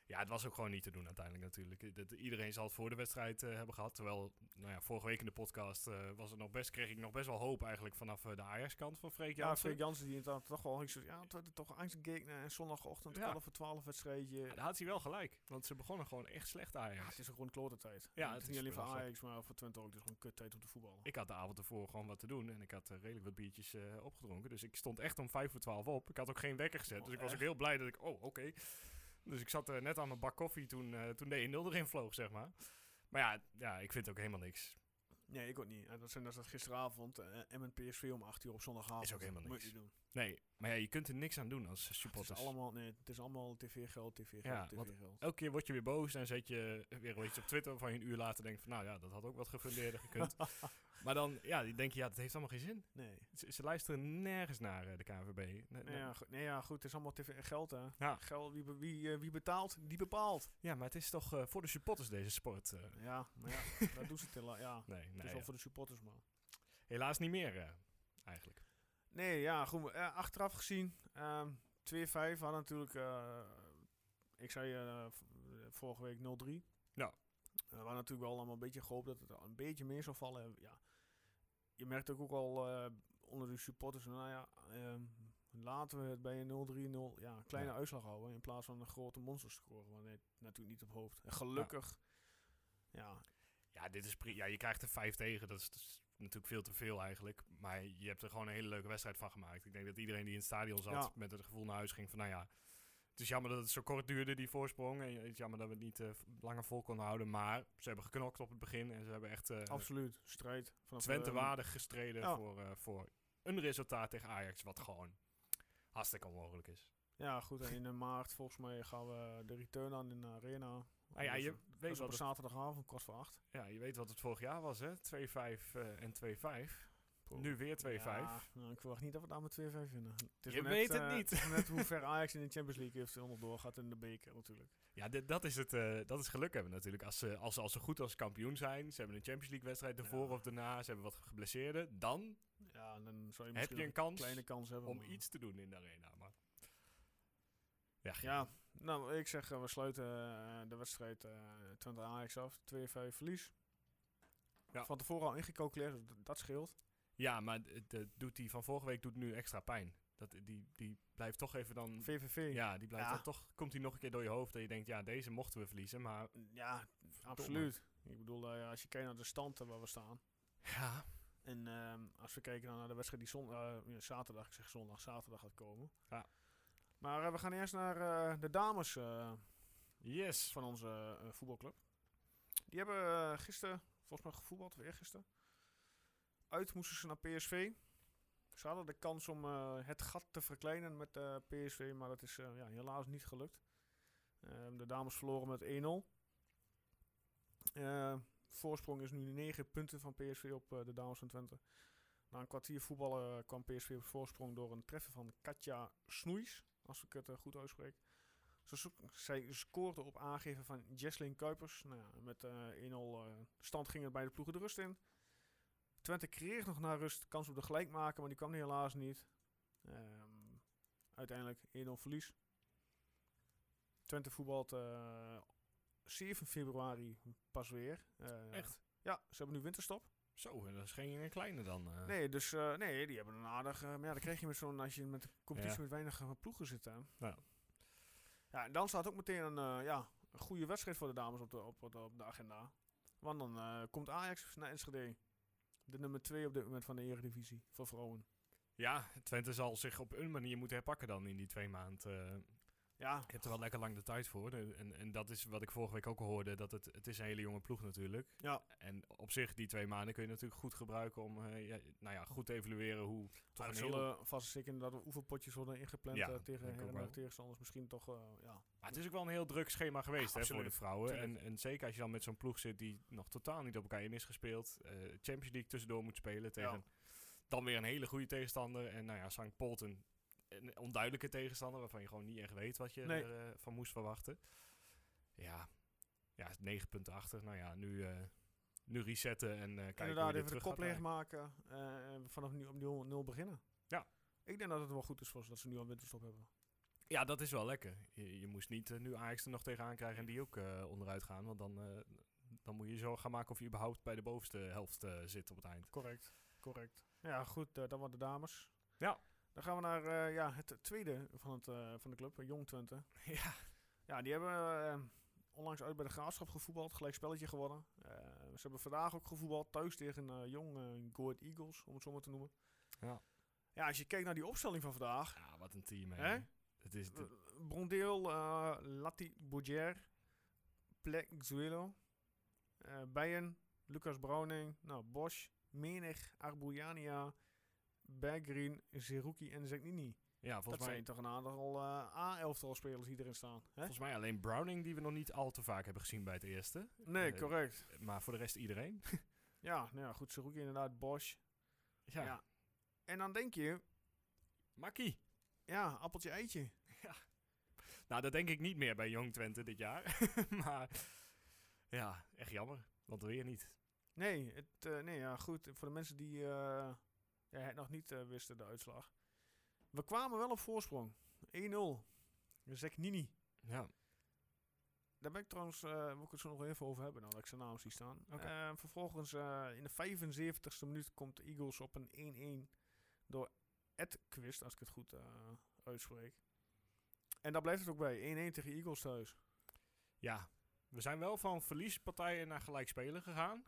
Speaker 3: ja, het was ook gewoon niet te doen uiteindelijk natuurlijk. I- Dat, iedereen zal het voor de wedstrijd eh, hebben gehad. Terwijl, nou ja, vorige week in de podcast eh, was het nog best, kreeg ik nog best wel hoop eigenlijk vanaf eh, de Ajax-kant van Freek
Speaker 2: Ja,
Speaker 3: Jansen.
Speaker 2: Freek Jansen die inderdaad toch wel... Ik zei, ja, het werd toch angstgegner en zondagochtend,
Speaker 3: Ja.
Speaker 2: 12 voor 12 wedstrijdje.
Speaker 3: Ja, daar had hij wel gelijk, want ze begonnen gewoon echt slecht
Speaker 2: Ja,
Speaker 3: Ajax.
Speaker 2: het is gewoon een klote tijd. En
Speaker 3: Ja,
Speaker 2: het is
Speaker 3: het is
Speaker 2: niet alleen voor
Speaker 3: belachelijk.
Speaker 2: Ajax, maar voor Twente ook. Het is gewoon kut tijd om te voetballen.
Speaker 3: Ik had de avond ervoor gewoon wat te doen en ik had eh, redelijk wat biertjes eh, opgedronken. Dus ik stond echt om vijf voor twaalf op. Ik had ook geen wekker gezet,
Speaker 2: Oh,
Speaker 3: dus ik was ook
Speaker 2: echt?
Speaker 3: heel blij dat ik, oh oké. Dus ik zat eh, net aan mijn bak koffie toen, eh, toen de 1-0 erin vloog, zeg maar. Maar ja, ja, ik vind het ook helemaal niks.
Speaker 2: Nee, ik ook niet. En dat zijn dat is dat gisteravond eh en PSV om 8 uur op zondagavond.
Speaker 3: Is ook helemaal
Speaker 2: Moet
Speaker 3: niks.
Speaker 2: je doen.
Speaker 3: Nee, maar ja, je kunt er niks aan doen als eh,
Speaker 2: Het is
Speaker 3: supporters.
Speaker 2: allemaal, nee, het is allemaal tv-geld, tv-geld,
Speaker 3: Ja, want-
Speaker 2: tv-geld.
Speaker 3: Elke keer word je weer boos en zet je weer een beetje op Twitter waarvan je een uur later denkt van nou ja, dat had ook wat gefundeerder gekund. maar dan ja, die denk je ja, dat heeft allemaal geen zin.
Speaker 2: Nee.
Speaker 3: Ze, ze luisteren nergens naar eh, de KNVB. Ne- ne-
Speaker 2: Nee, ja, goed, nee, ja, goed. Het is allemaal tv en geld, hè.
Speaker 3: Ja.
Speaker 2: Geld, wie, be- wie, eh, wie betaalt, die bepaalt.
Speaker 3: ja, maar het is toch eh, voor de supporters deze sport. eh.
Speaker 2: Ja, maar ja, dat doen ze het hela- Ja, het
Speaker 3: nee, nee,
Speaker 2: is wel
Speaker 3: ja.
Speaker 2: voor de supporters, maar...
Speaker 3: helaas niet meer eh, eigenlijk.
Speaker 2: Nee, ja, goed. maar, eh, achteraf gezien, ehm 2-5 had natuurlijk, eh, ik zei eh, v- eh, vorige week 0-3.
Speaker 3: Ja.
Speaker 2: we hadden natuurlijk wel allemaal een beetje gehoopt dat het een beetje meer zou vallen. En Ja. Je merkt ook al eh, onder de supporters, nou ja, ehm, laten we het bij een 0-3-0, ja, een kleine
Speaker 3: Ja.
Speaker 2: uitslag houden in plaats van een grote monster scoren. Want nee, natuurlijk niet op hoofd. En gelukkig, ja,
Speaker 3: Ja, dit is pri- ja, je krijgt er vijf tegen. Dat is, dat is natuurlijk veel te veel eigenlijk. Maar je hebt er gewoon een hele leuke wedstrijd van gemaakt. Ik denk dat iedereen die in het stadion zat
Speaker 2: Ja.
Speaker 3: met het gevoel naar huis ging van nou ja, het is jammer dat het zo kort duurde, die voorsprong. En het is jammer dat we het niet eh, v- langer vol konden houden. Maar ze hebben geknokt op het begin en ze hebben echt eh,
Speaker 2: absoluut. Strijd. Vanaf
Speaker 3: Twente
Speaker 2: eh,
Speaker 3: waardig gestreden
Speaker 2: ja.
Speaker 3: voor, eh, voor een resultaat tegen Ajax, wat gewoon hartstikke onmogelijk is.
Speaker 2: Ja, goed. En in eh, maart volgens mij gaan we de return aan in de arena.
Speaker 3: Maar Ah ja,
Speaker 2: Dat is-
Speaker 3: je
Speaker 2: dat
Speaker 3: weet,
Speaker 2: is op
Speaker 3: wat
Speaker 2: een
Speaker 3: het,
Speaker 2: zaterdagavond, kwart voor acht.
Speaker 3: ja, je weet wat het vorig jaar was, hè? 2-5 eh, en 2-5. Nu weer 2-5.
Speaker 2: Ja, nou, ik verwacht niet dat we daar met 2-5 vinden. Het
Speaker 3: Je
Speaker 2: maar
Speaker 3: weet het
Speaker 2: eh,
Speaker 3: niet.
Speaker 2: het is maar net hoe ver Ajax in de Champions League heeft helemaal doorgaat en in de beker natuurlijk.
Speaker 3: Ja, dit- dat is, het, eh, dat is geluk hebben natuurlijk. Als ze, als, ze al zo goed als kampioen zijn, ze hebben een Champions League wedstrijd ervoor
Speaker 2: Ja.
Speaker 3: of daarna, ze hebben wat geblesseerden, dan
Speaker 2: Ja, en dan zou je
Speaker 3: heb
Speaker 2: misschien
Speaker 3: je een
Speaker 2: nog
Speaker 3: kans
Speaker 2: kleine kans hebben.
Speaker 3: om
Speaker 2: maar-
Speaker 3: iets te doen in de arena. Maar... Ja, geen-
Speaker 2: Ja, nou, ik zeg, eh, we sluiten eh, de wedstrijd eh Twente Ajax af. 2-5 verlies.
Speaker 3: Ja.
Speaker 2: Van tevoren al ingecalculeerd, dus d- dat scheelt.
Speaker 3: ja maar het, eh, doet die van vorige week doet nu extra pijn. Dat, die, die blijft toch even dan...
Speaker 2: VVV.
Speaker 3: Mm. Ja, die blijft
Speaker 2: Ja.
Speaker 3: dan toch... Komt die nog een keer door je hoofd dat je denkt, ja, deze mochten we verliezen, maar...
Speaker 2: Ja, absoluut. Ik bedoel, eh, als je kijkt naar de stand eh, waar we staan.
Speaker 3: Ja,
Speaker 2: En ehm, als we kijken dan naar de wedstrijd die zon, eh, ja, zaterdag, ik zeg zondag, zaterdag gaat komen.
Speaker 3: Ja.
Speaker 2: Maar eh, we gaan eerst naar eh, de dames eh,
Speaker 3: yes.
Speaker 2: van onze eh, voetbalclub. Die hebben eh, gisteren, volgens mij gevoetbald, weer gisteren. Uit moesten ze naar PSV. Ze hadden de kans om eh, het gat te verkleinen met eh, PSV, maar dat is eh, ja, helaas niet gelukt. Ehm, de dames verloren met 1-0. Eh, voorsprong is nu 9 punten van PSV op eh, de Downs van Twente. Na een kwartier voetballen eh, kwam PSV op voorsprong door een treffen van Katja Snoeis, als ik het eh, goed uitspreek. Ze zoek- zij scoorde op aangeven van Jesslyn Kuipers. Nou ja, met eh 1-0 eh, stand ging het bij de ploegen de rust in. Twente kreeg nog na rust kans op de gelijkmaker, maar die kwam er helaas niet. Ehm, uiteindelijk 1-0 verlies. Twente voetbalt eh 7 februari pas weer. Eh,
Speaker 3: Echt?
Speaker 2: Ja, ze hebben nu winterstop.
Speaker 3: Zo, en dat is geen kleine dan. eh.
Speaker 2: Nee, dus eh, nee, die hebben een aardig. eh, maar ja, dan krijg je met zo'n. Als je met een competitie
Speaker 3: Ja.
Speaker 2: met weinig eh, ploegen zit. Hè.
Speaker 3: Ja.
Speaker 2: Ja, en dan staat ook meteen een, eh, ja, een goede wedstrijd voor de dames op de, op, op de- op de agenda. Want dan eh, komt Ajax naar Enschede. De nummer 2 op dit moment van de Eredivisie voor vrouwen.
Speaker 3: Ja, Twente zal zich op een manier moeten herpakken dan in die twee eh. maanden.
Speaker 2: Ja,
Speaker 3: je hebt er wel lekker lang de tijd voor. En, en- en dat is wat ik vorige week ook al hoorde. Dat het, het is een hele jonge ploeg natuurlijk.
Speaker 2: Ja.
Speaker 3: En op zich, die twee maanden kun je natuurlijk goed gebruiken om eh, ja, nou ja, goed te evalueren hoe toch
Speaker 2: maar
Speaker 3: een
Speaker 2: er
Speaker 3: hele...
Speaker 2: zullen vast zeker inderdaad oefenpotjes worden ingepland
Speaker 3: Ja,
Speaker 2: eh,
Speaker 3: denk
Speaker 2: tegen her
Speaker 3: ik ook
Speaker 2: en
Speaker 3: wel.
Speaker 2: her tegenstanders. Misschien toch, eh, ja.
Speaker 3: Maar het is ook wel een heel druk schema geweest hè, voor de
Speaker 2: absoluut,
Speaker 3: vrouwen. En,
Speaker 2: tuurlijk.
Speaker 3: en zeker als je dan met zo'n ploeg zit die nog totaal niet op elkaar in is gespeeld. eh, Champions League tussendoor moet spelen tegen
Speaker 2: Ja.
Speaker 3: dan weer een hele goede tegenstander. En nou ja, St. Polten, een onduidelijke tegenstander waarvan je gewoon niet echt weet wat je
Speaker 2: Nee.
Speaker 3: ervan van moest verwachten. Ja, ja 9.80. Nou ja, nu, eh, nu resetten en eh, kijken
Speaker 2: inderdaad,
Speaker 3: hoe je
Speaker 2: even de
Speaker 3: dit terug
Speaker 2: kop
Speaker 3: gaat draaien.
Speaker 2: leegmaken. eh, en vanaf nu opnieuw nul beginnen.
Speaker 3: Ja.
Speaker 2: Ik denk dat het wel goed is voor ze dat ze nu al winterstop hebben.
Speaker 3: Ja, dat is wel lekker. Je, je moest niet eh, nu Ajax er nog tegenaan krijgen en die ook eh, onderuit gaan. Want dan, eh, dan moet je zo gaan maken of je überhaupt bij de bovenste helft eh, zit op het eind.
Speaker 2: Correct, correct. Ja, goed, eh, dat waren de dames.
Speaker 3: Ja.
Speaker 2: Dan gaan we naar eh, ja, het tweede van, het, eh, van de club, eh, Jong Twente.
Speaker 3: ja.
Speaker 2: Ja, die hebben eh, onlangs uit bij de Graafschap gevoetbald, gelijk spelletje gewonnen. Eh, ze hebben vandaag ook gevoetbald, thuis tegen eh, Jong eh Go Ahead Eagles, om het zo maar te noemen.
Speaker 3: Ja.
Speaker 2: Ja, als je kijkt naar die opstelling van vandaag.
Speaker 3: ja, wat een team.
Speaker 2: Hè?
Speaker 3: Hè? Het is
Speaker 2: eh,
Speaker 3: de-
Speaker 2: Brondeel, eh Lati Boudier, Plek Zuelo, eh Bijen, Lucas Browning, nou, Bosch, Menig, Arbouyania, Bergreen, Zerouki en Zegnini.
Speaker 3: ja, volgens
Speaker 2: Dat
Speaker 3: mij
Speaker 2: zijn toch een aantal eh A-elftal spelers die erin staan. Hè?
Speaker 3: Volgens mij alleen Browning, die we nog niet al te vaak hebben gezien bij het eerste.
Speaker 2: Nee,
Speaker 3: eh,
Speaker 2: correct.
Speaker 3: Maar voor de rest iedereen.
Speaker 2: Ja, nou ja, goed, Zerouki inderdaad, Bosch. Ja. En dan denk je,
Speaker 3: Makkie.
Speaker 2: ja, appeltje eitje.
Speaker 3: Nou, dat denk ik niet meer bij Jong Twente dit jaar. maar ja, echt jammer. Want weer niet.
Speaker 2: Nee, het, eh, nee ja, goed. Voor de mensen die eh, ja, het nog niet eh, wisten, de uitslag. We kwamen wel op voorsprong. 1-0. Zek Nini.
Speaker 3: Ja,
Speaker 2: Daar ben ik trouwens, eh wil ik het zo nog even over hebben, nou, dat ik zijn naam zie staan.
Speaker 3: Oké.
Speaker 2: Eh, vervolgens, eh, in de 75ste minuut komt de Eagles op een 1-1 door Edquist, als ik het goed eh, uitspreek. En daar blijft het ook bij. 1-1 tegen Eagles thuis.
Speaker 3: ja. We zijn wel van verliespartijen naar gelijk spelen gegaan.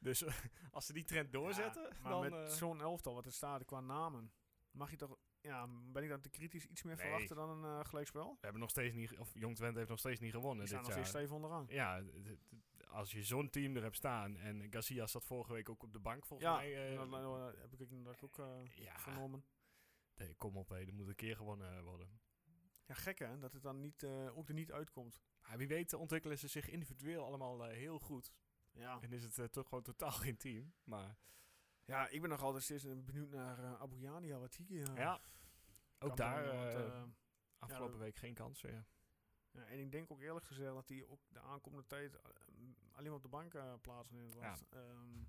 Speaker 3: dus eh, als ze die trend doorzetten,
Speaker 2: Ja, maar
Speaker 3: dan...
Speaker 2: met
Speaker 3: eh,
Speaker 2: zo'n elftal wat er staat qua namen, mag je toch... Ja, ben ik dan te kritisch iets meer
Speaker 3: Nee.
Speaker 2: verwachten dan een eh, gelijkspel?
Speaker 3: we hebben nog steeds niet... ge- Of Jong Twente heeft nog steeds niet gewonnen
Speaker 2: Die staan
Speaker 3: dit
Speaker 2: nog steeds
Speaker 3: jaar.
Speaker 2: stevig onderaan.
Speaker 3: Ja, d- d- d- als je zo'n team er hebt staan... En Garcia zat vorige week ook op de bank, volgens
Speaker 2: Ja,
Speaker 3: mij. eh,
Speaker 2: dat, dat heb ik inderdaad ook eh,
Speaker 3: ja,
Speaker 2: vernomen.
Speaker 3: Nee, kom op, hé. Er moet een keer gewonnen eh, worden.
Speaker 2: Ja, gek hè, dat het dan niet, eh, ook er niet uitkomt.
Speaker 3: Maar wie weet ontwikkelen ze zich individueel allemaal eh, heel goed.
Speaker 2: Ja.
Speaker 3: En is het eh, toch gewoon totaal geen team. Maar
Speaker 2: ja, ik ben nog altijd steeds eh, benieuwd naar eh Abu Yania, wat hij eh, kan
Speaker 3: ja, ook daar
Speaker 2: brengen, want,
Speaker 3: eh,
Speaker 2: eh,
Speaker 3: afgelopen
Speaker 2: dat-
Speaker 3: week geen kans weer.
Speaker 2: ja, en ik denk ook eerlijk gezegd dat hij ook de aankomende tijd eh, m, alleen maar op de bank eh, plaatsen in het
Speaker 3: Ja.
Speaker 2: land. Ehm,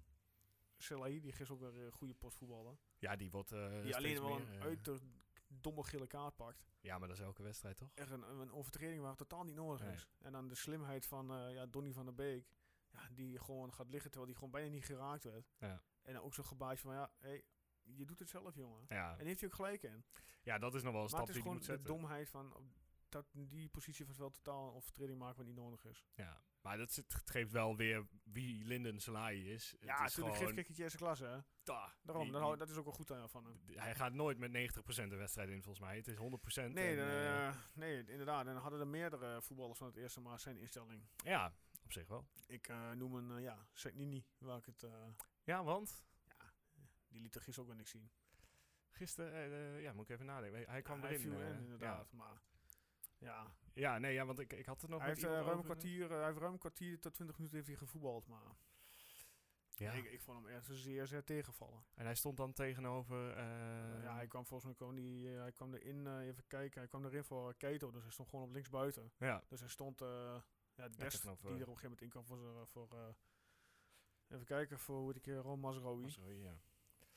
Speaker 2: Selahi, die gisteren ook weer een goede pot voetballen.
Speaker 3: Ja, die wordt eh,
Speaker 2: Die
Speaker 3: steeds
Speaker 2: alleen wel
Speaker 3: meer,
Speaker 2: een
Speaker 3: eh,
Speaker 2: uiterst domme gele kaart pakt.
Speaker 3: Ja, maar dat is elke wedstrijd, toch?
Speaker 2: Echt een, een overtreding waar totaal niet nodig
Speaker 3: Nee.
Speaker 2: is. En dan de slimheid van eh, ja, Donny van der Beek. Ja, die gewoon gaat liggen terwijl die gewoon bijna niet geraakt werd.
Speaker 3: Ja.
Speaker 2: En dan ook zo'n gebaasje van ja, hey, je doet het zelf jongen.
Speaker 3: Ja.
Speaker 2: En die heeft hij ook gelijk in.
Speaker 3: ja, dat is nog wel een
Speaker 2: maar
Speaker 3: stap
Speaker 2: het is
Speaker 3: die je
Speaker 2: gewoon
Speaker 3: moet
Speaker 2: de
Speaker 3: zetten.
Speaker 2: domheid van op dat die positie van het veld totaal een overtreding maken wat niet nodig is.
Speaker 3: Ja. Maar dat zit- het geeft wel weer wie Linden Salahi is.
Speaker 2: ja,
Speaker 3: het is
Speaker 2: natuurlijk
Speaker 3: gewoon...
Speaker 2: geeft je eerste klasse. Hè?
Speaker 3: Da,
Speaker 2: Daarom,
Speaker 3: die-
Speaker 2: dat, hou-
Speaker 3: die-
Speaker 2: dat is ook wel goed aan van hem.
Speaker 3: d- hij gaat nooit met 90% de wedstrijd in, volgens mij. Het is 100%.
Speaker 2: Nee,
Speaker 3: en,
Speaker 2: dan,
Speaker 3: eh,
Speaker 2: eh, nee, inderdaad. En dan hadden er meerdere voetballers van het eerste maar zijn instelling.
Speaker 3: ja, op zich wel.
Speaker 2: Ik eh, noem een, eh, ja, Seknini, waar ik het, eh,
Speaker 3: Ja, want...
Speaker 2: die liet er gisteren ook weer niks zien.
Speaker 3: Gisteren, eh, eh, ja, moet ik even nadenken. Hij kwam
Speaker 2: Ja, hij
Speaker 3: erin.
Speaker 2: viel
Speaker 3: eh,
Speaker 2: in,
Speaker 3: ja.
Speaker 2: inderdaad, maar ja,
Speaker 3: Ja, nee, ja, want ik, ik had het nog
Speaker 2: Hij
Speaker 3: met
Speaker 2: heeft, eh,
Speaker 3: iemand
Speaker 2: ruim een
Speaker 3: over.
Speaker 2: kwartier, eh, hij heeft ruim een kwartier tot 20 minuten heeft hij gevoetbald. Maar
Speaker 3: Ja.
Speaker 2: ik, ik vond hem echt zeer, zeer tegenvallen.
Speaker 3: En hij stond dan tegenover... eh,
Speaker 2: ja, hij kwam volgens mij kwam die, eh, hij kwam erin, eh, even kijken, hij kwam erin voor Keto. Dus hij stond gewoon op linksbuiten.
Speaker 3: ja.
Speaker 2: Dus hij stond, eh ja, Dest, die er op
Speaker 3: tegenover-
Speaker 2: een gegeven moment in kwam voor, z'n- voor eh, even kijken, voor hoe die keer Ron Mazraoui.
Speaker 3: Sorry, ja.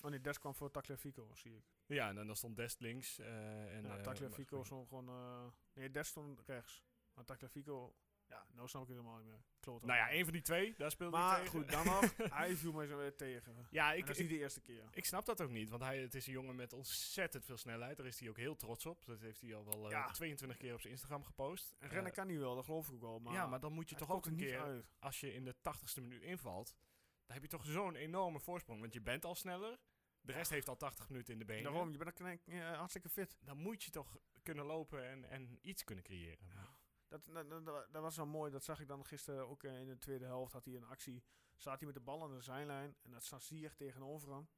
Speaker 2: Oh nee, Dest kwam voor Tagliafico, zie ik.
Speaker 3: Ja, en dan dan stond Dest links. eh en,
Speaker 2: ja,
Speaker 3: eh,
Speaker 2: Tagliafico
Speaker 3: maar-
Speaker 2: stond gewoon, eh, nee, Dest stond rechts. Maar Tagliafico, ja, nou snap ik het helemaal niet meer. Klote.
Speaker 3: Nou ja, één van die twee, daar speelde hij
Speaker 2: Maar
Speaker 3: tegen.
Speaker 2: goed, dan nog, hij viel mij zo weer tegen. En
Speaker 3: Ja, ik,
Speaker 2: dat is niet
Speaker 3: ik,
Speaker 2: de eerste keer.
Speaker 3: ik snap dat ook niet. Want hij, het is een jongen met ontzettend veel snelheid. Daar is hij ook heel trots op. Dat heeft hij al wel eh,
Speaker 2: Ja.
Speaker 3: 22 keer op zijn Instagram gepost.
Speaker 2: En
Speaker 3: Eh,
Speaker 2: rennen kan hij wel, dat geloof ik ook wel. Maar
Speaker 3: ja, maar dan moet je
Speaker 2: hij
Speaker 3: toch
Speaker 2: komt
Speaker 3: ook
Speaker 2: er
Speaker 3: een
Speaker 2: niet
Speaker 3: keer,
Speaker 2: uit.
Speaker 3: als je in de 80ste minuut invalt, dan heb je toch zo'n enorme voorsprong. Want je bent al sneller. De rest heeft al 80 minuten in de benen.
Speaker 2: Daarom, je bent een knijn- eh, hartstikke fit.
Speaker 3: Dan moet je toch kunnen lopen en, en iets kunnen creëren. Maar-
Speaker 2: Dat, dat, dat, dat was wel mooi. Dat zag ik dan gisteren ook eh, in de tweede helft. Had hij een actie. Zat hij met de bal aan de zijlijn. En dat zat Ziyech tegenover hem.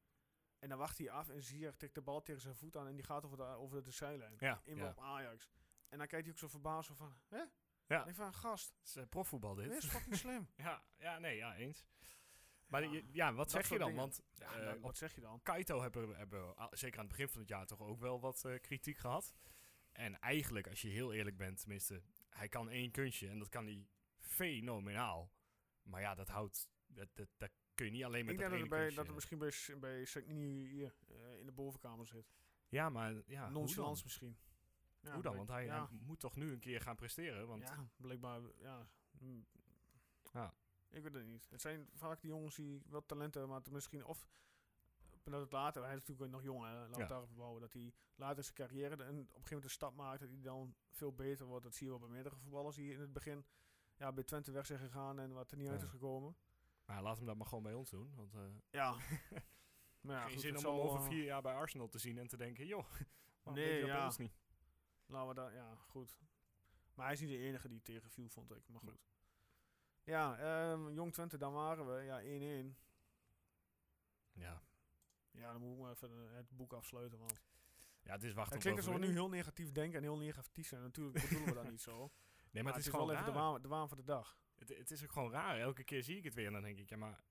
Speaker 2: En dan wacht hij af. En Ziyech tikt de bal tegen zijn voet aan. En die gaat over de, over de zijlijn.
Speaker 3: Ja,
Speaker 2: In
Speaker 3: ja.
Speaker 2: op Ajax. En dan kijkt hij ook zo verbaasd zo van... Hè?
Speaker 3: Ja.
Speaker 2: Ik denk van, gast.
Speaker 3: Het is eh, profvoetbal dit.
Speaker 2: Dit is fucking slim.
Speaker 3: Ja, ja, nee, ja, eens. Maar
Speaker 2: Ja,
Speaker 3: je- ja, wat
Speaker 2: dat
Speaker 3: zeg je
Speaker 2: soort
Speaker 3: dan?
Speaker 2: dingen.
Speaker 3: Want
Speaker 2: Ja,
Speaker 3: eh,
Speaker 2: nou,
Speaker 3: op
Speaker 2: wat zeg je dan?
Speaker 3: Kaito hebben, we- hebben we, ah, zeker aan het begin van het jaar toch ook wel wat eh, kritiek gehad. En eigenlijk, als je heel eerlijk bent, tenminste, hij kan één kunstje en dat kan hij fenomenaal. Maar ja, dat houdt, dat, dat, dat kun je niet alleen met
Speaker 2: Ik
Speaker 3: dat
Speaker 2: denk dat
Speaker 3: ene
Speaker 2: het, bij,
Speaker 3: kunstje.
Speaker 2: dat het misschien bij, S- bij Sekni hier eh, in de bovenkamer zit.
Speaker 3: ja, maar ja, hoe dan?
Speaker 2: Nonchalance misschien. Ja,
Speaker 3: Hoe dan?
Speaker 2: blijk-
Speaker 3: Want hij,
Speaker 2: ja,
Speaker 3: hij moet toch nu een keer gaan presteren. Want
Speaker 2: ja, blijkbaar. Ja. mm.
Speaker 3: Ja.
Speaker 2: Ik weet het niet. Het zijn vaak die jongens die wel talent hebben, maar het misschien of dat het later, hij is natuurlijk nog jong, hè, laten we
Speaker 3: Ja.
Speaker 2: het daarop bouwen, dat hij later in zijn carrière de- een, op een gegeven moment een stap maakt, dat hij dan veel beter wordt. Dat zie je wel bij meerdere voetballers die in het begin ja, bij Twente weg zijn gegaan en wat er niet uit
Speaker 3: Ja.
Speaker 2: is gekomen.
Speaker 3: maar Nou laat hem dat maar gewoon bij ons doen. Want eh
Speaker 2: Ja. maar ja,
Speaker 3: geen
Speaker 2: goed,
Speaker 3: zin
Speaker 2: het
Speaker 3: om hem
Speaker 2: zal,
Speaker 3: over
Speaker 2: eh,
Speaker 3: vier jaar bij Arsenal te zien en te denken, joh, waarom
Speaker 2: Nee,
Speaker 3: deed je dat bij
Speaker 2: ja.
Speaker 3: ons niet?
Speaker 2: Laten we daar, ja, goed. Maar hij is niet de enige die tegenviel, vond ik. Maar goed. Ja, ehm, Jong Twente, daar waren we. Ja, 1-1.
Speaker 3: Ja.
Speaker 2: Ja, dan moet ik maar even eh, het boek afsluiten. Want
Speaker 3: ja, het is wachten
Speaker 2: het
Speaker 3: op
Speaker 2: klinkt alsof we nu
Speaker 3: overwinning.
Speaker 2: heel negatief denken en heel negatief zijn. Natuurlijk bedoelen we dat niet zo. Maar,
Speaker 3: Nee, maar,
Speaker 2: het is, wel even de
Speaker 3: raar.
Speaker 2: waan, de waan van de dag.
Speaker 3: Het, het is ook gewoon raar. Elke keer zie ik het weer en dan denk ik, ja, maar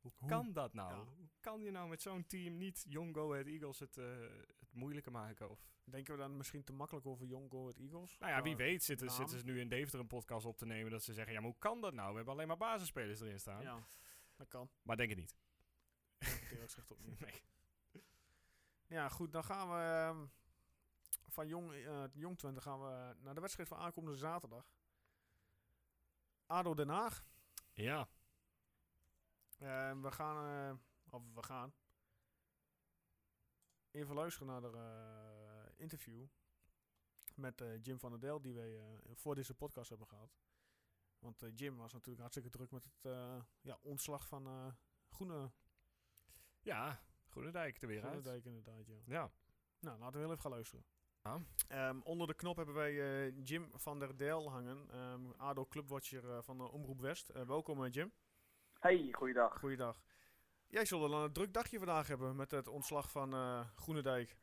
Speaker 3: hoe kan dat nou?
Speaker 2: Ja.
Speaker 3: Hoe kan je nou met zo'n team niet Young Go Ahead Eagles het, eh het moeilijker maken? Of,
Speaker 2: Denken we dan misschien te makkelijk over Jong Go het Eagles?
Speaker 3: nou ja, wie weet zitten,
Speaker 2: naam.
Speaker 3: zitten ze nu in Deventer een podcast op te nemen dat ze zeggen, ja, maar hoe kan dat nou? We hebben alleen maar basisspelers erin staan.
Speaker 2: Ja, dat kan.
Speaker 3: Maar denk het niet.
Speaker 2: Teerlijk zegt ook niet.
Speaker 3: nee.
Speaker 2: Ja, goed, dan gaan we ehm, van Jong, eh, Jong Twente gaan we naar de wedstrijd van aankomende zaterdag. ADO Den Haag.
Speaker 3: Ja,
Speaker 2: Eh, we gaan, eh, of we gaan, even luisteren naar de eh, interview met eh, Jim van der Del, die wij eh, voor deze podcast hebben gehad. Want eh, Jim was natuurlijk hartstikke druk met het eh, ja, ontslag van eh Groene,
Speaker 3: ja. Groenendijk er weer uit.
Speaker 2: Groenendijk inderdaad. Ja.
Speaker 3: Ja.
Speaker 2: Nou, laten we heel even gaan luisteren.
Speaker 3: Ah.
Speaker 2: Ehm, onder de knop hebben wij eh, Jim van der Del hangen, ehm, ADO Clubwatcher eh, van de Omroep West. Eh, welkom eh, Jim.
Speaker 7: Hey, goeiedag.
Speaker 2: Goeiedag. Jij zult wel een druk dagje vandaag hebben met het ontslag van eh Groenendijk.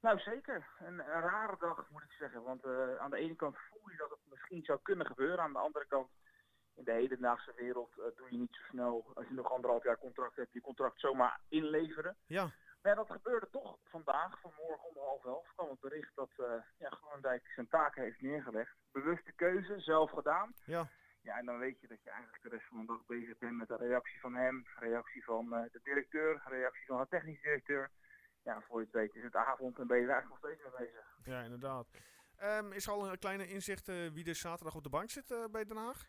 Speaker 7: Nou zeker, een, een rare dag moet ik zeggen. Want eh, aan de ene kant voel je dat het misschien zou kunnen gebeuren. Aan de andere kant, in de hedendaagse wereld eh, doe je niet zo snel. Als je nog anderhalf jaar contract hebt, je contract zomaar inleveren.
Speaker 2: Ja.
Speaker 7: Maar ja, dat gebeurde toch vandaag, vanmorgen om half elf, kwam het bericht dat eh ja, Groenendijk zijn taken heeft neergelegd. Bewuste keuze, zelf gedaan.
Speaker 2: Ja.
Speaker 7: Ja, en dan weet je dat je eigenlijk de rest van de dag bezig bent met de reactie van hem, reactie van eh, de directeur, reactie van de technisch directeur. Ja, voor je het weet is het avond en ben je er eigenlijk nog steeds mee bezig.
Speaker 2: Ja, inderdaad. Ehm, is er al een kleine inzicht eh, wie er zaterdag op de bank zit eh, bij Den Haag?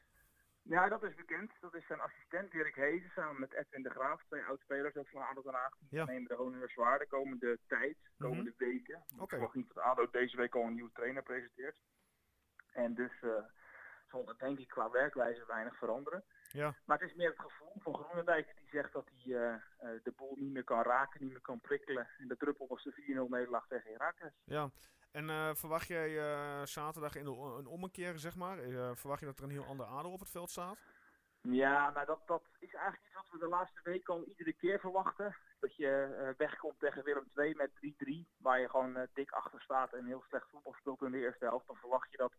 Speaker 7: Ja, dat is bekend. Dat is zijn assistent Dirk Hezen samen met Edwin de Graaf, twee oudspelers ook van ADO Den Haag. Die
Speaker 2: Ja.
Speaker 7: nemen de honneurs zwaar de komende tijd, komende weken.
Speaker 2: Oké.
Speaker 7: Ik verwacht niet dat ADO deze week al een nieuwe trainer presenteert. En dus eh, zal dat denk ik qua werkwijze weinig veranderen.
Speaker 2: Ja.
Speaker 7: Maar het is meer het gevoel van Groenendijk die zegt dat hij eh, eh, de boel niet meer kan raken, niet meer kan prikkelen. En de druppel was de 4-0 nederlaag tegen Herakles.
Speaker 2: Ja. En eh, verwacht jij eh, zaterdag in de o- een ommekeer, zeg maar? Eh, verwacht je dat er een heel ander ADO op het veld staat?
Speaker 7: Ja, nou dat, dat is eigenlijk iets wat we de laatste week al iedere keer verwachten. Dat je eh, wegkomt tegen Willem II met 3-3, waar je gewoon eh, dik achter staat en heel slecht voetbal speelt in de eerste helft. Dan verwacht je dat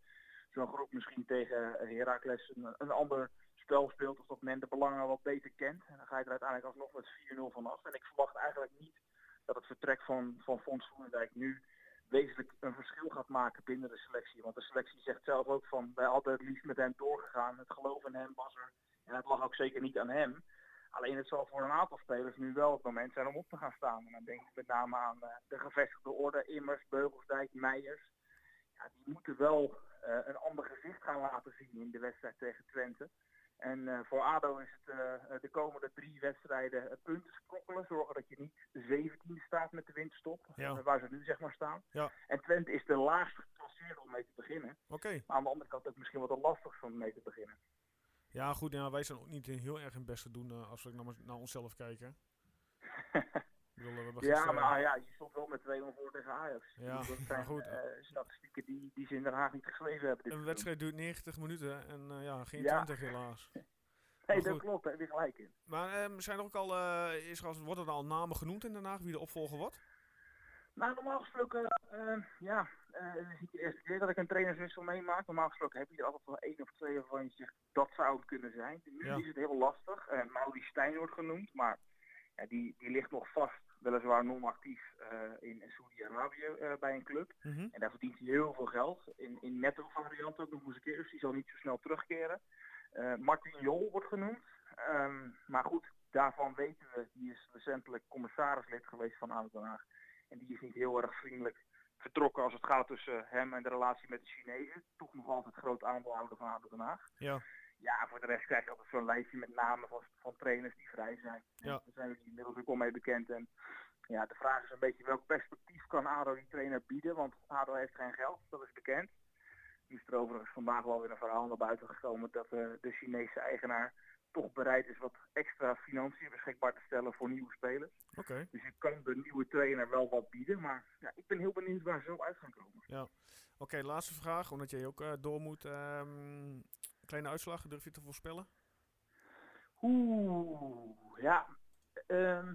Speaker 7: zo'n groep misschien tegen Heracles een, een ander spel speelt of dat men de belangen wat beter kent. En dan ga je er uiteindelijk alsnog met 4-0 vanaf. En ik verwacht eigenlijk niet dat het vertrek van, van Fons Groenendijk nu wezenlijk een verschil gaat maken binnen de selectie. Want de selectie zegt zelf ook van wij hadden het liefst met hem doorgegaan. Het geloof in hem was er. En het lag ook zeker niet aan hem. Alleen het zal voor een aantal spelers nu wel het moment zijn om op te gaan staan. En dan denk ik met name aan eh, de gevestigde orde, Immers, Beugelsdijk, Meijers. Ja, die moeten wel eh, een ander gezicht gaan laten zien in de wedstrijd tegen Twente. En eh, voor ADO is het eh, de komende drie wedstrijden eh, punten sprokkelen. Zorgen dat je niet 17 staat met de winterstop,
Speaker 2: Ja.
Speaker 7: eh, waar ze nu zeg maar staan.
Speaker 2: Ja.
Speaker 7: En Twente is de laagste klasseer om mee te beginnen.
Speaker 2: Oké.
Speaker 7: Maar aan de andere kant ook misschien wat lastig om mee te beginnen.
Speaker 2: Ja, goed. Ja, wij zijn ook niet heel erg hun best te doen eh, als we naar, naar onszelf kijken. Ik bedoel, we hebben
Speaker 7: Ja,
Speaker 2: gisteren-
Speaker 7: maar ah, ja, je stond wel met 2-0 voor tegen Ajax.
Speaker 2: eh, Ja,
Speaker 7: dat
Speaker 2: maar
Speaker 7: zijn
Speaker 2: goed.
Speaker 7: eh, statistieken die, die ze in Den Haag niet geschreven hebben.
Speaker 2: Een
Speaker 7: Dus- dit seizoen.
Speaker 2: wedstrijd duurt 90 minuten en eh, ja, geen
Speaker 7: Ja.
Speaker 2: 20 helaas.
Speaker 7: Nee,
Speaker 2: maar
Speaker 7: dat
Speaker 2: goed.
Speaker 7: klopt, daar heb je gelijk in.
Speaker 2: Maar ehm, zijn er ook al, eh, is er al, worden er al namen genoemd in Den Haag wie de opvolger wordt?
Speaker 7: Nou, normaal gesproken, eh, ja, eh, het is niet de eerste keer dat ik een trainerswissel meemaak. Normaal gesproken heb je er altijd wel één of twee waarvan je zegt, dat zou het kunnen zijn. Nu
Speaker 2: Ja.
Speaker 7: is het heel lastig. Eh Mauri Stijn wordt genoemd, maar ja, die, die ligt nog vast, weliswaar non-actief eh, in Saudi-Arabië eh, bij een club. En daar verdient hij heel veel geld. In, in netto variant ook nog eens een keer. Dus die zal niet zo snel terugkeren. Eh, Martin Jol wordt genoemd. Ehm, maar goed, daarvan weten we. Die is recentelijk commissarislid geweest van ADO Den Haag. En die is niet heel erg vriendelijk vertrokken als het gaat tussen hem en de relatie met de Chinezen. Toch nog altijd groot aandeelhouder van ADO Den Haag.
Speaker 2: Ja.
Speaker 7: Ja, voor de rest krijg je altijd zo'n lijstje met namen van, van trainers die vrij zijn. En
Speaker 2: Ja.
Speaker 7: Daar zijn jullie inmiddels ook al mee bekend. En ja, de vraag is een beetje welk perspectief kan ADO die trainer bieden, want ADO heeft geen geld, dat is bekend. Nu is er overigens vandaag wel weer een verhaal naar buiten gekomen dat eh, de Chinese eigenaar toch bereid is wat extra financiën beschikbaar te stellen voor nieuwe spelers.
Speaker 2: Oké.
Speaker 7: Dus je kan de nieuwe trainer wel wat bieden, maar ja, ik ben heel benieuwd waar ze zo uit gaan komen.
Speaker 2: Oké, laatste vraag, omdat jij ook eh, door moet. Ehm, kleine uitslag, durf je te voorspellen?
Speaker 7: Oeh, ja. Ehm,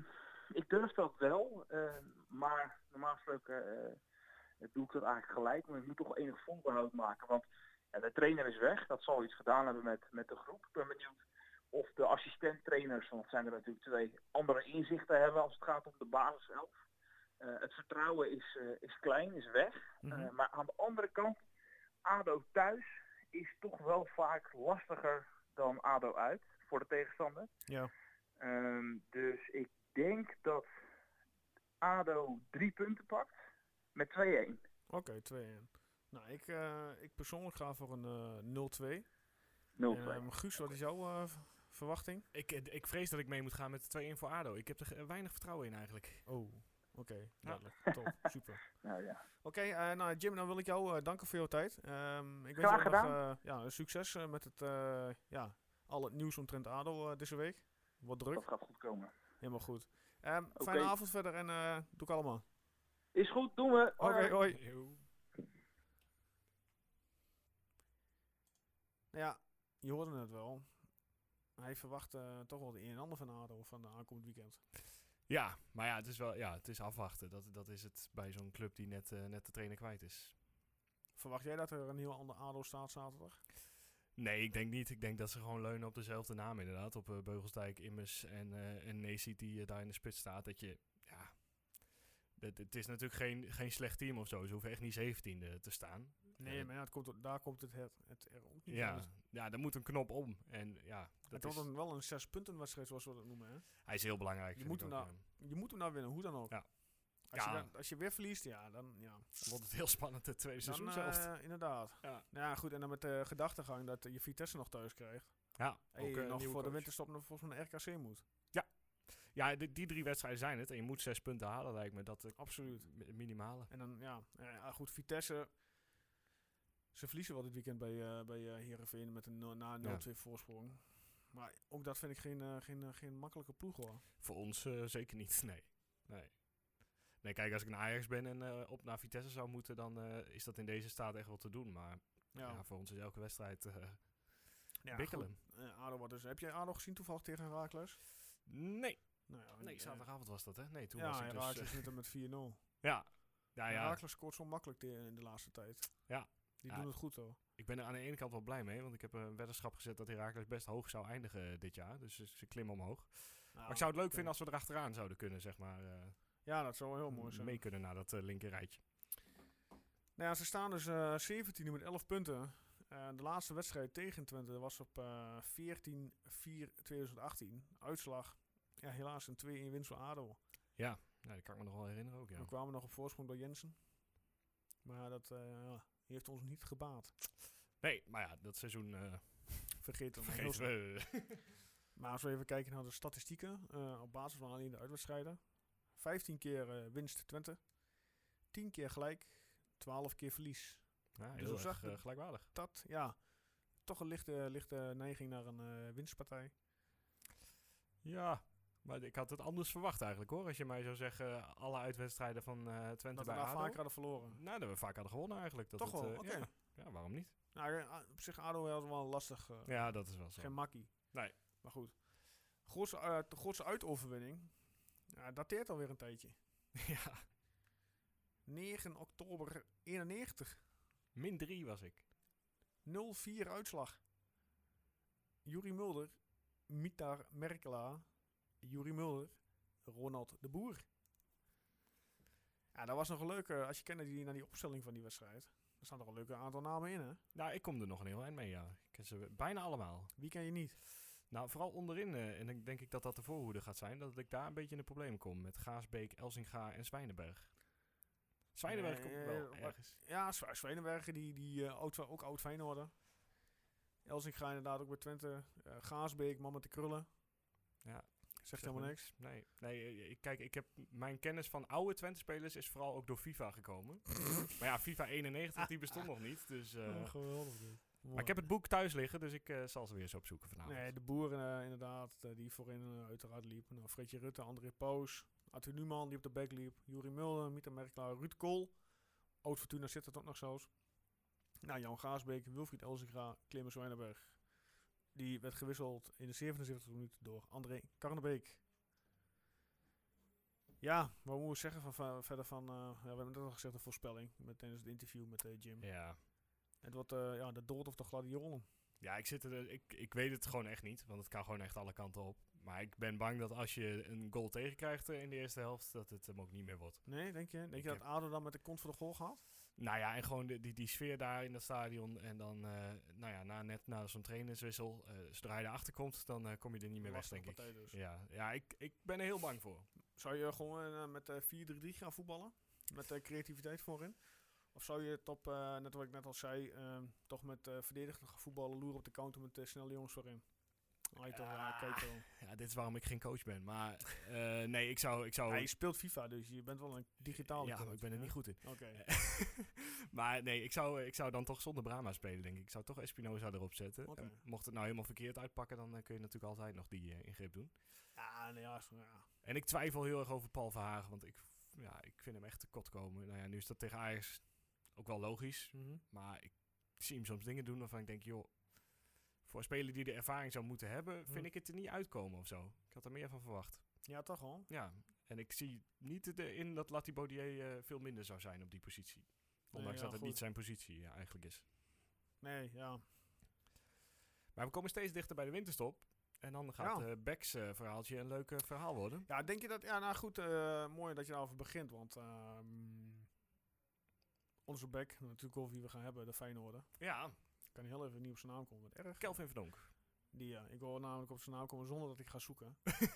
Speaker 7: ik durf dat wel, ehm, maar normaal gesproken eh, doe ik dat eigenlijk gelijk. Maar ik moet toch enig voorbehoud maken, want ja, de trainer is weg. Dat zal iets gedaan hebben met, met de groep. Ik ben benieuwd of de assistent-trainers, want het zijn er natuurlijk twee, andere inzichten hebben als het gaat om de basis zelf. Eh, het vertrouwen is, eh, is klein, is weg. Eh, maar aan de andere kant, ADO thuis is toch wel vaak lastiger dan ADO uit voor de tegenstander.
Speaker 2: Ja.
Speaker 7: Ehm, dus ik denk dat ADO drie punten pakt met 2-1.
Speaker 2: Oké, 2-1. Nou, ik, eh, ik persoonlijk ga voor een eh 0-2.
Speaker 7: 0-2.
Speaker 2: Ehm Guus, wat is jouw eh, v- verwachting?
Speaker 3: Ik, eh, ik vrees dat ik mee moet gaan met de 2-1 voor ADO. Ik heb er ge- weinig vertrouwen in eigenlijk.
Speaker 2: Oh, oké. duidelijk. Top, super.
Speaker 7: nou ja.
Speaker 2: Oké, eh, nou Jim, dan wil ik jou eh, danken voor jouw tijd. Ehm, ik wens
Speaker 7: Graag
Speaker 2: jou nog
Speaker 7: gedaan.
Speaker 2: eh, ja, succes eh, met het, eh, ja, al het nieuws omtrent ADO eh, deze week. Wat druk,
Speaker 7: Dat gaat goed komen.
Speaker 2: helemaal goed. Ehm, Fijne
Speaker 7: Oké.
Speaker 2: avond verder en eh, doe ik allemaal.
Speaker 7: Is goed, doen we.
Speaker 2: Oké, hoi.
Speaker 3: Yo.
Speaker 2: Nou ja, je hoorde het wel. Hij verwacht eh, toch wel de een en ander van ADO van de aankomend weekend.
Speaker 3: Ja, maar ja, het is wel ja, het is afwachten. Dat, dat is het bij zo'n club die net, eh, net de trainer kwijt is.
Speaker 2: Verwacht jij dat er een heel ander ADO staat zaterdag?
Speaker 3: Nee, ik denk niet. Ik denk dat ze gewoon leunen op dezelfde naam inderdaad. Op eh, Beugelsdijk, Immers en, eh en Nesi die eh, daar in de spits staat. Dat je, ja... dat- Het is natuurlijk geen, geen slecht team of zo. Ze hoeven echt niet 17e te staan.
Speaker 2: Nee,
Speaker 3: Eh,
Speaker 2: maar ja, het komt, daar komt het, het, het er ook niet
Speaker 3: Ja,
Speaker 2: uit.
Speaker 3: ja, daar moet een knop om. En ja,
Speaker 2: Het
Speaker 3: dat
Speaker 2: wordt
Speaker 3: is,
Speaker 2: dan wel een zes punten wedstrijd zoals we dat noemen. Hè?
Speaker 3: hij is heel belangrijk.
Speaker 2: Je
Speaker 3: vind
Speaker 2: moet
Speaker 3: ik
Speaker 2: hem
Speaker 3: ook,
Speaker 2: nou-
Speaker 3: ja.
Speaker 2: Je moet hem nou winnen, hoe dan ook.
Speaker 3: Ja.
Speaker 2: Als,
Speaker 3: Ja.
Speaker 2: Je dan- als je weer verliest, ja, dan ja.
Speaker 3: Dan wordt het heel spannend het tweede
Speaker 2: Dan,
Speaker 3: seizoen zelf.
Speaker 2: eh, inderdaad.
Speaker 3: Ja.
Speaker 2: Nou ja, goed, en dan met de gedachtegang dat eh, je Vitesse nog thuis krijgt.
Speaker 3: Ja,
Speaker 2: En
Speaker 3: ook,
Speaker 2: je
Speaker 3: eh,
Speaker 2: nog voor
Speaker 3: nieuwe
Speaker 2: de
Speaker 3: coach.
Speaker 2: winterstop nog volgens mij naar RKC moet.
Speaker 3: Ja, die, die drie wedstrijden zijn het. En je moet zes punten halen, lijkt me. Dat eh,
Speaker 2: Absoluut.
Speaker 3: mi- minimale.
Speaker 2: En dan, ja, eh, ja, goed, Vitesse. Ze verliezen wel dit weekend bij, eh bij eh, Heerenveen met een nul- na 0-2 voorsprong. Maar ook dat vind ik geen, eh, geen, eh, geen makkelijke ploeg hoor.
Speaker 3: Voor ons eh, zeker niet, nee. nee. Nee, kijk, als ik een Ajax ben en eh, op naar Vitesse zou moeten, dan eh, is dat in deze staat echt wel te doen. Maar ja.
Speaker 2: Ja,
Speaker 3: voor ons is elke wedstrijd eh
Speaker 2: ja
Speaker 3: bikkelen.
Speaker 2: goed. Eh, ADO wat dus. Heb jij ADO gezien toevallig tegen Herakles?
Speaker 3: Nee,
Speaker 2: Nou, ja,
Speaker 3: nee,
Speaker 2: eh,
Speaker 3: zaterdagavond was dat, hè? Nee, toen was
Speaker 2: Ja,
Speaker 3: ik dus...
Speaker 2: Herakles wint hem met 4-0.
Speaker 3: eh, ja, ja, ja.
Speaker 2: Herakles scoort zo makkelijk te- in de laatste tijd.
Speaker 3: Ja.
Speaker 2: Die
Speaker 3: Ja.
Speaker 2: doen het goed hoor.
Speaker 3: Ik ben er aan de ene kant wel blij mee, want ik heb een weddenschap gezet dat Herakles best hoog zou eindigen dit jaar. Dus ze, ze klimmen omhoog. maar
Speaker 2: Nou,
Speaker 3: ik zou het leuk vinden als we erachteraan zouden kunnen, zeg maar. eh,
Speaker 2: Ja, dat zou wel heel mooi zijn.
Speaker 3: mee kunnen naar dat eh, linker rijtje.
Speaker 2: Nou ja, ze staan dus eh 17 met 11 punten. Eh, de laatste wedstrijd tegen Twente was op eh 14-4-2018. Uitslag, ja, helaas een 2-1 winst voor ADO.
Speaker 3: Ja, nou, dat kan ik me nog wel herinneren ook, ja.
Speaker 2: We kwamen nog op voorsprong door Jensen. Maar dat eh, ja, heeft ons niet gebaat.
Speaker 3: Nee, maar ja, dat seizoen eh
Speaker 2: Vergeet het maar.
Speaker 3: vergeten we.
Speaker 2: Maar als we even kijken naar de statistieken, eh, op basis van alleen de uitwedstrijden. 15 keer eh, winst Twente, 10 keer gelijk, 12 keer verlies.
Speaker 3: Ja,
Speaker 2: Dus
Speaker 3: heel
Speaker 2: op
Speaker 3: erg,
Speaker 2: zich-
Speaker 3: eh, gelijkwaardig.
Speaker 2: Dat, ja, toch een lichte, lichte neiging naar een eh, winstpartij.
Speaker 3: Ja, maar ik had het anders verwacht eigenlijk hoor. Als je mij zou zeggen, eh, alle uitwedstrijden van eh, Twente
Speaker 2: Dat we
Speaker 3: bij
Speaker 2: daar
Speaker 3: ADO.
Speaker 2: vaak hadden verloren.
Speaker 3: Nou, dat we vaak hadden gewonnen eigenlijk. Dat
Speaker 2: Toch
Speaker 3: het,
Speaker 2: wel,
Speaker 3: eh,
Speaker 2: oké.
Speaker 3: ja. ja, waarom niet?
Speaker 2: Nou, eh, a- op zich ADO was wel lastig. eh,
Speaker 3: Ja, dat is wel zo.
Speaker 2: Geen makkie.
Speaker 3: Nee.
Speaker 2: Maar goed. Godse, eh, de Godse uitoverwinning, ja, dateert alweer een tijdje.
Speaker 3: ja,
Speaker 2: 9 oktober 91,
Speaker 3: min drie was ik.
Speaker 2: 0-4 uitslag. Juri Mulder, Mitar Merkela, Juri Mulder, Ronald de Boer. Ja, dat was nog een leuke, als je kent naar die, naar die opstelling van die wedstrijd. Er staan nog een leuke aantal namen in, hè?
Speaker 3: Nou, ik kom er nog een heel eind mee, ja. Ik ken ze bijna allemaal.
Speaker 2: Wie ken je niet?
Speaker 3: Nou, vooral onderin, eh, en ik denk ik dat dat de voorhoede gaat zijn, dat ik daar een beetje in de problemen kom met Gaasbeek, Elsinga en Zwijnenberg. Zwijnenberg
Speaker 2: Nee,
Speaker 3: komt
Speaker 2: eh,
Speaker 3: wel
Speaker 2: maar-
Speaker 3: ergens.
Speaker 2: Ja, Zwa- Zwijnenbergen, die, die eh, oud, ook oud Feyenoorder. Elsinga inderdaad ook bij Twente. Eh Gaasbeek, man met de krullen.
Speaker 3: Ja,
Speaker 2: Zegt
Speaker 3: Zeg
Speaker 2: helemaal
Speaker 3: maar
Speaker 2: niks.
Speaker 3: Nee, nee eh, ik- kijk, ik heb mijn kennis van oude Twente-spelers is vooral ook door FIFA gekomen. maar ja, FIFA 91, die bestond nog niet, dus... eh,
Speaker 2: Oh, geweldig
Speaker 3: maar ik heb het boek thuis liggen, dus ik eh, zal ze weer eens opzoeken vanavond.
Speaker 2: Nee, de boeren eh, inderdaad, eh, die voorin eh, uiteraard liep. Nou, Fredje Rutte, André Poos, Arthur Numan die op de bek liep. Juri Mulder, Mieter Merklaar, Ruud Kool. Oud Fortuna zit het ook nog zo's. Nou, Jan Gaasbeek, Wilfried Elzinga, Clemens Wijnenberg. Die werd gewisseld in de 77 minuut door André Karnebeek. Ja, wat moeten we zeggen van, van- verder van... eh, ja, we hebben net al gezegd de voorspelling met, tijdens het interview met eh, Jim.
Speaker 3: Ja.
Speaker 2: Het wordt eh, ja, de dood of de gladiolen.
Speaker 3: ja, ik, zit er, eh, ik, ik weet het gewoon echt niet, want het kan gewoon echt alle kanten op. Maar ik ben bang dat als je een goal tegenkrijgt eh, in de eerste helft, dat het hem ook niet meer wordt.
Speaker 2: Nee, denk je? Denk
Speaker 3: Ik
Speaker 2: je dat
Speaker 3: heb-
Speaker 2: ADO dan met de kont voor de goal gaat?
Speaker 3: Nou ja, en gewoon de- die, die sfeer daar in dat stadion. En dan, eh, nou ja, na, net na zo'n trainerswissel, eh, zodra je erachter komt, dan eh, kom je er niet meer weg,
Speaker 2: Lastige
Speaker 3: denk ik.
Speaker 2: partij dus.
Speaker 3: Ja, ja ik, ik ben er heel bang voor.
Speaker 2: Zou je gewoon eh, met eh, 4-3-3 gaan voetballen? Met eh, creativiteit voorin? Of zou je het op, eh, net wat ik net al zei, ehm, toch met eh verdedigend gaan voetballen, loeren op de counter met eh, snelle jongens voorin? Ah, je toch, ja,
Speaker 3: Ah,
Speaker 2: kijk wel.
Speaker 3: Ja, dit is waarom ik geen coach ben. Maar eh, nee, ik zou... Ik zou
Speaker 2: Ja, je speelt FIFA, dus je bent wel een digitale
Speaker 3: ja,
Speaker 2: coach,
Speaker 3: maar ik ben er
Speaker 2: hè?
Speaker 3: niet goed in.
Speaker 2: Oké.
Speaker 3: maar nee, ik zou, ik zou dan toch zonder Brahma spelen, denk ik. Ik zou toch Espinoza erop zetten.
Speaker 2: Oké.
Speaker 3: En mocht het nou helemaal verkeerd uitpakken, dan eh, kun je natuurlijk altijd nog die eh, ingreep doen.
Speaker 2: Ja, nee, ja, zo, ja.
Speaker 3: En ik twijfel heel erg over Paul Verhagen, want ik, ja, ik vind hem echt te kot komen. Nou ja, nu is dat tegen Ajax ook wel logisch. Maar ik zie hem soms dingen doen waarvan ik denk, joh... Voor een speler die de ervaring zou moeten hebben, vind
Speaker 2: Hm.
Speaker 3: ik het er niet uitkomen of zo. Ik had er meer van verwacht.
Speaker 2: ja toch al?
Speaker 3: Ja, en ik zie niet de- in dat Latibaudier eh, veel minder zou zijn op die positie. Ondanks
Speaker 2: ja,
Speaker 3: dat het
Speaker 2: goed.
Speaker 3: niet zijn positie ja, eigenlijk is.
Speaker 2: Nee, ja.
Speaker 3: Maar we komen steeds dichter bij de winterstop. En dan gaat
Speaker 2: Ja.
Speaker 3: eh Becks eh, verhaaltje een leuk eh, verhaal worden.
Speaker 2: Ja, denk je dat... Ja, nou goed, eh, mooi dat je daarover begint, want... ehm, onze back, natuurlijk over wie we gaan hebben, de Feyenoorder.
Speaker 3: Ja,
Speaker 2: Ik kan heel even niet op zijn naam komen, wat erg.
Speaker 3: Kelvin Verdonk.
Speaker 2: Die, ja, ik wil namelijk op zijn naam komen zonder dat ik ga zoeken.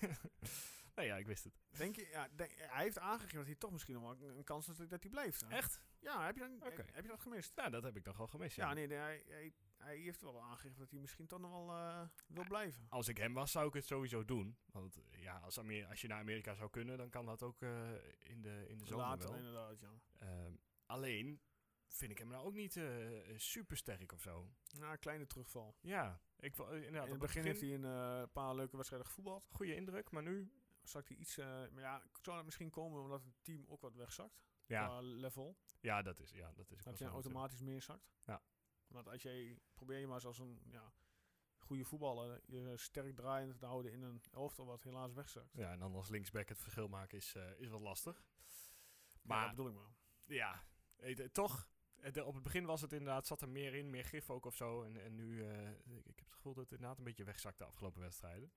Speaker 3: nou ja, ik wist het.
Speaker 2: Denk je, ja, denk- hij heeft aangegeven dat hij toch misschien nog wel een, een kans heeft dat, dat hij blijft. hè?
Speaker 3: Echt?
Speaker 2: Ja, heb je, dat,
Speaker 3: Oké.
Speaker 2: heb je dat gemist?
Speaker 3: Nou, dat heb ik dan gewoon gemist. Ja.
Speaker 2: Ja, nee, nee, hij, hij, hij heeft wel aangegeven dat hij misschien toch nog wel eh, wil blijven.
Speaker 3: Als ik hem was, zou ik het sowieso doen. Want eh, ja, als, Amer- als je naar Amerika zou kunnen, dan kan dat ook eh, in de, in de zomer
Speaker 2: Later,
Speaker 3: wel.
Speaker 2: inderdaad, ja.
Speaker 3: Ehm, alleen vind ik hem nou ook niet eh super sterk of zo.
Speaker 2: Ja, een kleine terugval.
Speaker 3: Ja, ik, wou- eh, inderdaad,
Speaker 2: In het
Speaker 3: op
Speaker 2: begin heeft hij een eh, paar leuke wedstrijden gevoetbald.
Speaker 3: goede indruk, maar nu...
Speaker 2: Zakt hij iets... eh, maar ja, zou dat misschien komen omdat het team ook wat wegzakt?
Speaker 3: Ja,
Speaker 2: Qua level.
Speaker 3: ja, dat is, ja, dat is ook wel
Speaker 2: Dat
Speaker 3: zo
Speaker 2: je
Speaker 3: natuurlijk.
Speaker 2: automatisch meer zakt.
Speaker 3: Ja.
Speaker 2: Want als jij, probeer je maar eens als een ja, goede voetballer je sterk draaiend te houden in een elftal wat helaas wegzakt.
Speaker 3: Ja, en dan als linksback het verschil maken is, eh, is wat lastig.
Speaker 2: Maar
Speaker 3: Maar
Speaker 2: dat bedoel ik maar.
Speaker 3: ja, eh, eh, toch, eh, de- op het begin was het inderdaad, zat er meer in, meer gif ook of zo. En, en nu, eh, ik, ik heb het gevoel dat het inderdaad een beetje wegzakt de afgelopen wedstrijden.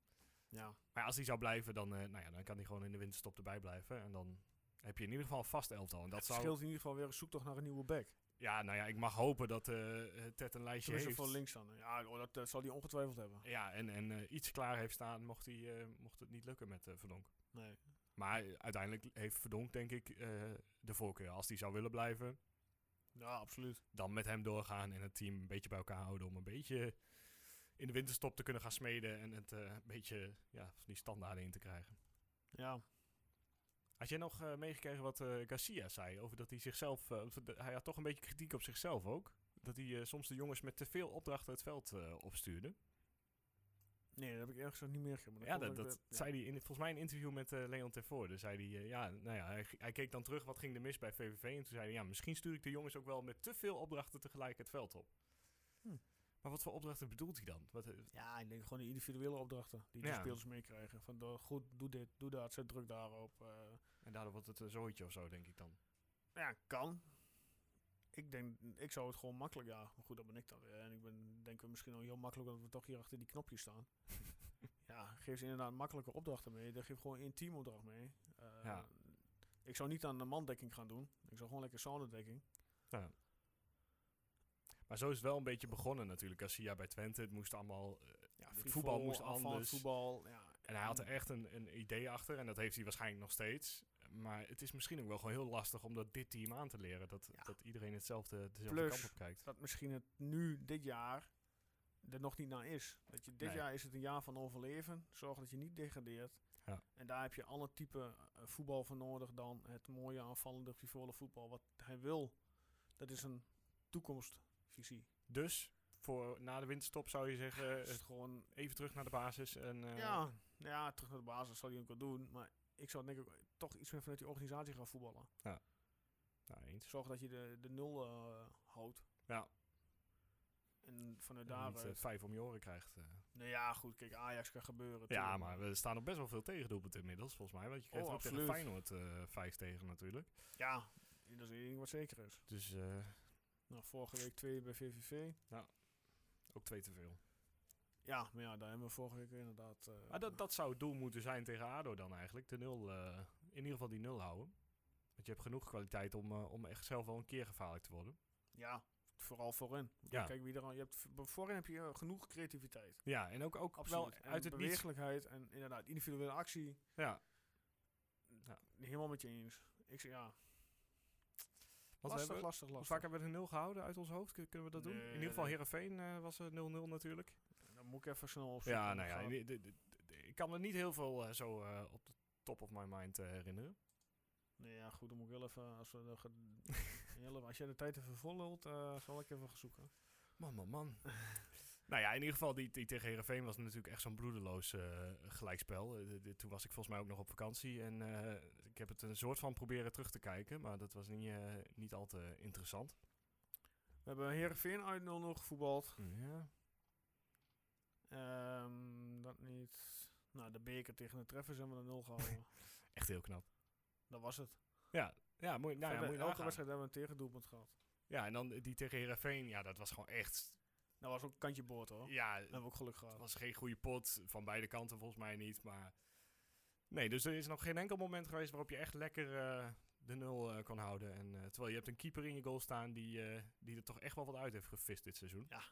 Speaker 2: Ja.
Speaker 3: Maar als hij zou blijven, dan, eh, nou ja, dan kan hij gewoon in de winterstop erbij blijven. En dan heb je in ieder geval een vast elftal. En dat
Speaker 2: Het
Speaker 3: zou,
Speaker 2: scheelt in ieder geval weer een zoektocht naar een nieuwe back.
Speaker 3: Ja, nou ja, ik mag hopen dat eh, eh, Ted een lijstje
Speaker 2: Tenminste
Speaker 3: heeft.
Speaker 2: voor links dan. Ja, oh, dat eh, zal hij ongetwijfeld hebben.
Speaker 3: Ja, en, en eh, iets klaar heeft staan mocht, hij, eh, mocht het niet lukken met eh, Verdonk.
Speaker 2: Nee.
Speaker 3: Maar eh, uiteindelijk heeft Verdonk, denk ik, eh, de voorkeur. Als hij zou willen blijven,
Speaker 2: Ja, absoluut.
Speaker 3: dan met hem doorgaan en het team een beetje bij elkaar houden. Om een beetje in de winterstop te kunnen gaan smeden en het eh, een beetje ja, van die standaarden in te krijgen.
Speaker 2: Ja.
Speaker 3: Had jij nog eh, meegekregen wat eh, Garcia zei over dat hij zichzelf... eh, of de- hij had toch een beetje kritiek op zichzelf ook. Dat hij eh, soms de jongens met te veel opdrachten het veld eh, opstuurde.
Speaker 2: Nee, dat heb ik ergens ook niet meer gedaan.
Speaker 3: Ja, dat, dat
Speaker 2: eh,
Speaker 3: zei hij in, volgens mij in een interview met eh, Leon Tervoorde. Zei hij, eh, ja, nou ja, hij, hij keek dan terug wat ging er mis bij VVV. En toen zei hij, ja, misschien stuur ik de jongens ook wel met te veel opdrachten tegelijk het veld op.
Speaker 2: Hm.
Speaker 3: Maar wat voor opdrachten bedoelt hij dan? Wat, eh,
Speaker 2: Ja, ik denk gewoon die individuele opdrachten die de
Speaker 3: Ja.
Speaker 2: spelers meekrijgen. Van door, goed, doe dit, doe dat, zet druk daarop. eh.
Speaker 3: en daardoor wordt het een zooitje of zo, denk ik dan.
Speaker 2: ja, kan. Ik denk, ik zou het gewoon makkelijk, ja. Maar goed, dat ben ik dan weer. En ik ben, denk we misschien al heel makkelijk dat we toch hier achter die knopjes staan. ja, geef ze inderdaad makkelijke opdrachten mee. Dan geef gewoon een teamopdracht mee. Eh,
Speaker 3: Ja.
Speaker 2: Ik zou niet aan de mandekking gaan doen. Ik zou gewoon lekker zonnedekking.
Speaker 3: Maar zo is het wel een beetje begonnen natuurlijk. Garcia bij Twente, het moest allemaal... eh,
Speaker 2: Ja,
Speaker 3: Het voetbal moest
Speaker 2: aanvallend
Speaker 3: anders.
Speaker 2: voetbal, ja.
Speaker 3: en hij had er echt een, een idee achter. En dat heeft hij waarschijnlijk nog steeds. Maar het is misschien ook wel gewoon heel lastig om dat dit team aan te leren. Dat,
Speaker 2: Ja.
Speaker 3: dat iedereen hetzelfde, dezelfde
Speaker 2: Plus,
Speaker 3: kant op kijkt.
Speaker 2: dat misschien het nu, dit jaar, er nog niet naar is. Dat je, dit
Speaker 3: Nee.
Speaker 2: jaar is het een jaar van overleven. Zorg dat je niet degradeert.
Speaker 3: Ja.
Speaker 2: En daar heb je alle type eh, voetbal voor nodig dan het mooie aanvallende frivole voetbal. Wat hij wil, dat is een toekomstvisie.
Speaker 3: Dus voor na de winterstop zou je zeggen,
Speaker 2: Is
Speaker 3: eh,
Speaker 2: het gewoon,
Speaker 3: even terug naar de basis. En, eh,
Speaker 2: ja, nou ja, terug naar de basis zal hij ook wel doen. Maar ik zou denk ik toch iets meer vanuit die organisatie gaan voetballen.
Speaker 3: nou, eens.
Speaker 2: Zorg dat je de, de nul eh, houdt.
Speaker 3: Ja.
Speaker 2: En vanuit
Speaker 3: En niet eh,
Speaker 2: daaruit.
Speaker 3: vijf om je oren krijgt. eh.
Speaker 2: Nou ja, goed, kijk, Ajax kan gebeuren.
Speaker 3: Ja,
Speaker 2: tuurlijk.
Speaker 3: maar we staan nog best wel veel tegendoelpunten inmiddels, volgens mij. Want je krijgt
Speaker 2: Oh,
Speaker 3: ook tegen
Speaker 2: absoluut.
Speaker 3: Feyenoord eh, vijf tegen natuurlijk.
Speaker 2: Ja, dat is één ding wat zeker is.
Speaker 3: Dus eh,
Speaker 2: Nou, vorige week twee bij VVV.
Speaker 3: ook twee te veel.
Speaker 2: Ja, maar ja, daar hebben we vorige week inderdaad... eh,
Speaker 3: Maar dat, dat zou het doel moeten zijn tegen ADO dan eigenlijk. De nul, eh, in ieder geval die nul houden. Want je hebt genoeg kwaliteit om, eh, om echt zelf wel een keer gevaarlijk te worden.
Speaker 2: Ja, vooral voorin.
Speaker 3: Ja.
Speaker 2: Kijk wie er al... Je hebt, v- voorin heb je eh, genoeg creativiteit.
Speaker 3: Ja, en ook, ook wel
Speaker 2: Absoluut. En
Speaker 3: uit het niets.
Speaker 2: bewegelijkheid en inderdaad individuele actie.
Speaker 3: Ja,
Speaker 2: Helemaal met je eens. Ik zeg ja,
Speaker 3: want we
Speaker 2: lastig,
Speaker 3: hebben,
Speaker 2: lastig,
Speaker 3: hoe
Speaker 2: lastig.
Speaker 3: vaak hebben we de nul gehouden uit ons hoofd? Kun- Kunnen we dat doen?
Speaker 2: Nee,
Speaker 3: In ieder geval
Speaker 2: nee.
Speaker 3: Heerenveen eh, was er 0-0 natuurlijk.
Speaker 2: Dan moet ik even snel opzoeken.
Speaker 3: Ja, nou ja,
Speaker 2: Gaat-
Speaker 3: de- de- de- de- ik kan er niet heel veel eh, zo eh, op de top of my mind eh, herinneren.
Speaker 2: Nee, ja, goed, dan moet ik wel even... Als, we de ge- heel even- als jij de tijd even volhoudt, eh, zal ik even gaan zoeken.
Speaker 3: Man, man, man. nou ja, in ieder geval, die, die tegen Herenveen was natuurlijk echt zo'n bloedeloos eh, gelijkspel. Eh, de- de- toen was ik volgens mij ook nog op vakantie en eh, ik heb het een soort van proberen terug te kijken, maar dat was niet, eh, niet al te interessant.
Speaker 2: We hebben Heerenveen uit 0-0 gevoetbald.
Speaker 3: Ja.
Speaker 2: Ehm, dat niet. Nou, de beker tegen de treffers hebben we een 0 gehouden.
Speaker 3: Echt heel knap.
Speaker 2: dat was het.
Speaker 3: Ja, mooi. Nou, ja,
Speaker 2: Verder,
Speaker 3: moet je
Speaker 2: elke
Speaker 3: nagaan.
Speaker 2: wedstrijd hebben we een tegendoelpunt gehad.
Speaker 3: ja, en dan die tegen Herenveen, ja, dat was gewoon echt.
Speaker 2: Dat was ook een kantje boord hoor.
Speaker 3: Ja,
Speaker 2: Dat hebben we ook geluk
Speaker 3: Het
Speaker 2: gehad.
Speaker 3: was geen goede pot, van beide kanten volgens mij niet. Maar nee, dus er is nog geen enkel moment geweest waarop je echt lekker eh, de nul eh, kon houden. En, eh, terwijl je hebt een keeper in je goal staan die, eh, die er toch echt wel wat uit heeft gevist dit seizoen.
Speaker 2: Ja,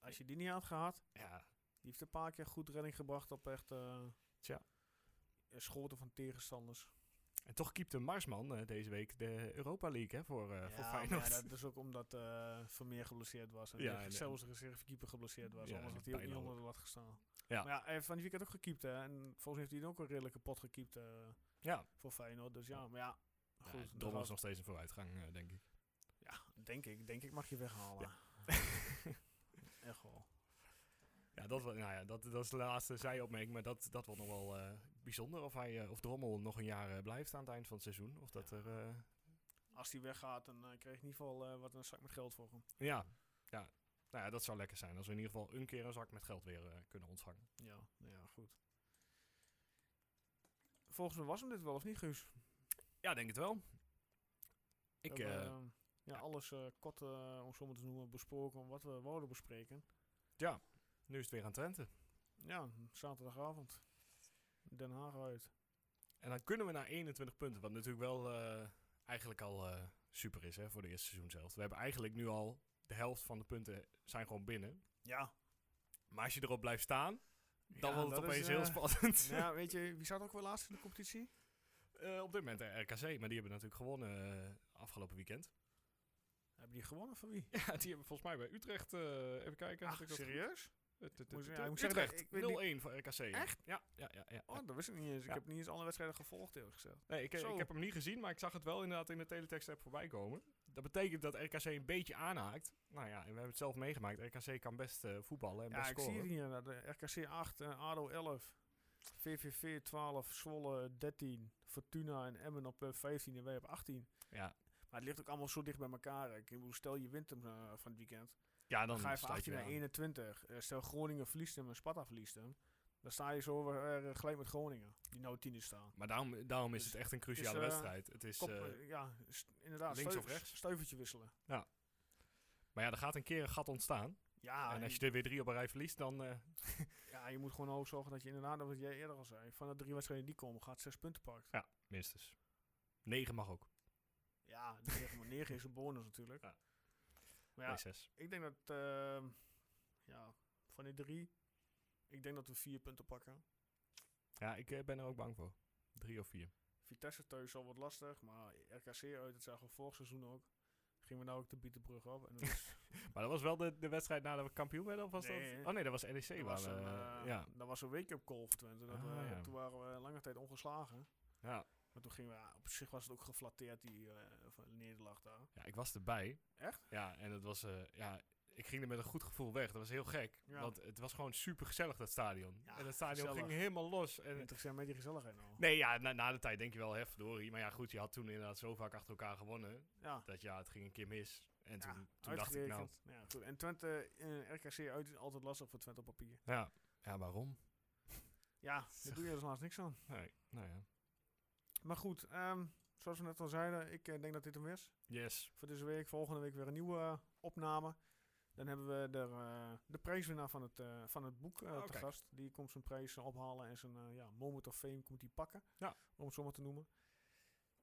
Speaker 2: als je die niet had gehad,
Speaker 3: Ja,
Speaker 2: die heeft een paar keer goed redding gebracht op echt. eh,
Speaker 3: Tja.
Speaker 2: eh, Schoten van tegenstanders.
Speaker 3: en toch keepte Marsman eh, deze week de Europa League hè, voor, eh,
Speaker 2: ja,
Speaker 3: voor
Speaker 2: maar
Speaker 3: Feyenoord.
Speaker 2: ja, dat is ook omdat eh, Vermeer geblesseerd was. En
Speaker 3: Ja,
Speaker 2: ja,
Speaker 3: en-
Speaker 2: zelfs de reservekeeper geblesseerd was.
Speaker 3: Ja,
Speaker 2: anders
Speaker 3: en
Speaker 2: had hij ook niet
Speaker 3: bijna
Speaker 2: onder de lat gestaan.
Speaker 3: Ja.
Speaker 2: Maar ja, hij heeft van die weekend ook gekiept. Hè, en volgens mij heeft hij ook een redelijke pot gekiept. eh,
Speaker 3: ja,
Speaker 2: voor Feyenoord. Dus ja, maar ja,
Speaker 3: Ja,
Speaker 2: goed. dat
Speaker 3: Dom was
Speaker 2: was-
Speaker 3: nog steeds een vooruitgang, eh, denk ik.
Speaker 2: ja, denk ik. Denk ik mag je weghalen. Echt wel.
Speaker 3: Ja, dat, wa- nou ja, dat, dat is de laatste zijopmerking, maar dat, dat wordt nog wel eh, bijzonder. Of, hij, eh, of Drommel nog een jaar eh, blijft aan het eind van het seizoen. Of dat er... eh,
Speaker 2: Als hij weggaat, dan eh, krijg ik in ieder geval eh, wat een zak met geld voor hem.
Speaker 3: Ja, ja. Nou ja, dat zou lekker zijn. Als we in ieder geval een keer een zak met geld weer eh, kunnen ontvangen.
Speaker 2: Ja, nou ja, goed. Volgens mij was hem dit wel, of niet, Guus?
Speaker 3: Ja, denk het wel. Ik,
Speaker 2: We
Speaker 3: eh,
Speaker 2: hebben, ehm, ja, alles eh, kort, eh, om sommigen te noemen, besproken wat we wouden bespreken.
Speaker 3: Nu is het weer aan Twente.
Speaker 2: Ja, zaterdagavond. Den Haag uit.
Speaker 3: En dan kunnen we naar 21 punten, wat natuurlijk wel eh, eigenlijk al eh, super is hè, voor de eerste seizoen zelf. We hebben eigenlijk nu al de helft van de punten zijn gewoon binnen.
Speaker 2: Ja.
Speaker 3: Maar als je erop blijft staan, dan
Speaker 2: Ja,
Speaker 3: wordt het
Speaker 2: dat is,
Speaker 3: opeens heel
Speaker 2: eh,
Speaker 3: spannend.
Speaker 2: ja, weet je, wie zat ook wel laatst in de competitie?
Speaker 3: Eh, op dit moment de RKC, maar die hebben natuurlijk gewonnen eh, afgelopen weekend.
Speaker 2: Hebben die gewonnen van wie?
Speaker 3: Ja, die hebben volgens mij bij Utrecht, eh, even kijken.
Speaker 2: Ach,
Speaker 3: Heb ik dat-
Speaker 2: serieus?
Speaker 3: Tut, tut,
Speaker 2: Moet
Speaker 3: tut,
Speaker 2: je- ja, ik moet zeggen dat
Speaker 3: Utrecht,
Speaker 2: ik weet niet-
Speaker 3: 0-1 voor RKC. ja.
Speaker 2: Echt?
Speaker 3: Ja, ja, ja. ja, ja.
Speaker 2: Oh, dat wist ik niet eens.
Speaker 3: Ja.
Speaker 2: Ik heb niet eens alle wedstrijden gevolgd, eerlijk gezegd.
Speaker 3: Nee, ik, eh,
Speaker 2: Zo.
Speaker 3: ik heb hem niet gezien, maar ik zag het wel inderdaad in de teletext-app voorbij komen. Dat betekent dat RKC een beetje aanhaakt. Nou ja, en we hebben het zelf meegemaakt. RKC kan best eh, voetballen en
Speaker 2: Ja,
Speaker 3: best
Speaker 2: ik zie
Speaker 3: scoren.
Speaker 2: het hier. inderdaad. De RKC 8, eh, ADO 11, VVV 12, Zwolle 13, Fortuna en Emmen op eh, 15 en wij op 18.
Speaker 3: Ja.
Speaker 2: Maar het ligt ook allemaal zo dicht bij elkaar. hè. Ik bedoel, stel je wint hem eh, van het weekend.
Speaker 3: ja,
Speaker 2: Dan, ga je van
Speaker 3: sluit
Speaker 2: 18
Speaker 3: weer
Speaker 2: naar
Speaker 3: aan.
Speaker 2: 21. Eh, stel Groningen verliest hem en Sparta verliest hem. Dan sta je zo weer, eh, gelijk met Groningen, die nou tiende staan.
Speaker 3: Maar daarom, daarom is het echt een cruciale
Speaker 2: eh,
Speaker 3: wedstrijd. Het is,
Speaker 2: Kop,
Speaker 3: eh,
Speaker 2: eh, ja, st- inderdaad.
Speaker 3: links
Speaker 2: steu-
Speaker 3: of rechts?
Speaker 2: Stuivertje wisselen.
Speaker 3: maar ja, er gaat een keer een gat ontstaan.
Speaker 2: Ja,
Speaker 3: en als
Speaker 2: je-
Speaker 3: je er weer drie op een rij verliest, dan... eh,
Speaker 2: ja, je moet gewoon ook zorgen dat je inderdaad, wat jij eerder al zei, van de drie wedstrijden die komen, gaat zes punten pakt.
Speaker 3: ja, minstens. Negen mag ook.
Speaker 2: Ja, 9,9 is een bonus natuurlijk.
Speaker 3: Ja.
Speaker 2: Maar
Speaker 3: Ja.
Speaker 2: ja,
Speaker 3: zes.
Speaker 2: ik denk dat ehm, ja, van die drie, ik denk dat we vier punten pakken.
Speaker 3: Ja, ik eh, ben er ook bang voor. Drie of vier.
Speaker 2: Vitesse thuis zal wat lastig, maar RKC uit, dat zagen we vorig seizoen ook. Gingen we nou ook de Bietenbrug op. En dat is,
Speaker 3: Maar dat was wel de, de wedstrijd nadat we kampioen werden? Of was
Speaker 2: Nee.
Speaker 3: dat... Oh nee, dat was NEC.
Speaker 2: dat,
Speaker 3: waar
Speaker 2: was
Speaker 3: we-
Speaker 2: een, eh,
Speaker 3: ja.
Speaker 2: dat was een wake-up call voor Twente. Dat
Speaker 3: Ah,
Speaker 2: we-
Speaker 3: ja.
Speaker 2: Toen waren we lange tijd ongeslagen.
Speaker 3: Ja.
Speaker 2: Maar toen gingen we, ja, op zich was het ook geflatteerd, die eh, van nederlaag daar.
Speaker 3: Ja, ik was erbij.
Speaker 2: Echt?
Speaker 3: Ja, en dat was... eh, ja, ik ging er met een goed gevoel weg. Dat was heel gek.
Speaker 2: Ja.
Speaker 3: Want het was gewoon super gezellig, dat stadion.
Speaker 2: Ja,
Speaker 3: en dat stadion
Speaker 2: gezellig.
Speaker 3: ging helemaal los. En,
Speaker 2: Interessant met die gezelligheid nou.
Speaker 3: nee, ja, na, na de tijd denk je wel, hè, verdorie. Maar ja, goed, je had toen inderdaad zo vaak achter elkaar gewonnen.
Speaker 2: Ja.
Speaker 3: Dat ja, het ging een keer mis. En toen,
Speaker 2: Ja,
Speaker 3: toen dacht ik nou...
Speaker 2: uitgerekend. Ja, goed. En Twente, eh, RKC uit is altijd lastig voor Twente op papier.
Speaker 3: Ja, ja waarom?
Speaker 2: Ja, daar doe je dus laatst niks aan.
Speaker 3: Nee, nou ja.
Speaker 2: Maar goed, ehm, zoals we net al zeiden, ik eh, denk dat dit hem is.
Speaker 3: Yes.
Speaker 2: Voor deze week, volgende week weer een nieuwe eh, opname. Dan hebben we de, eh, de prijswinnaar van het, eh, van het boek eh,
Speaker 3: Oh,
Speaker 2: te
Speaker 3: kijk.
Speaker 2: gast. Die komt zijn prijs eh, ophalen en zijn eh, ja, moment of fame komt hij pakken.
Speaker 3: Ja.
Speaker 2: Om het zo maar te noemen.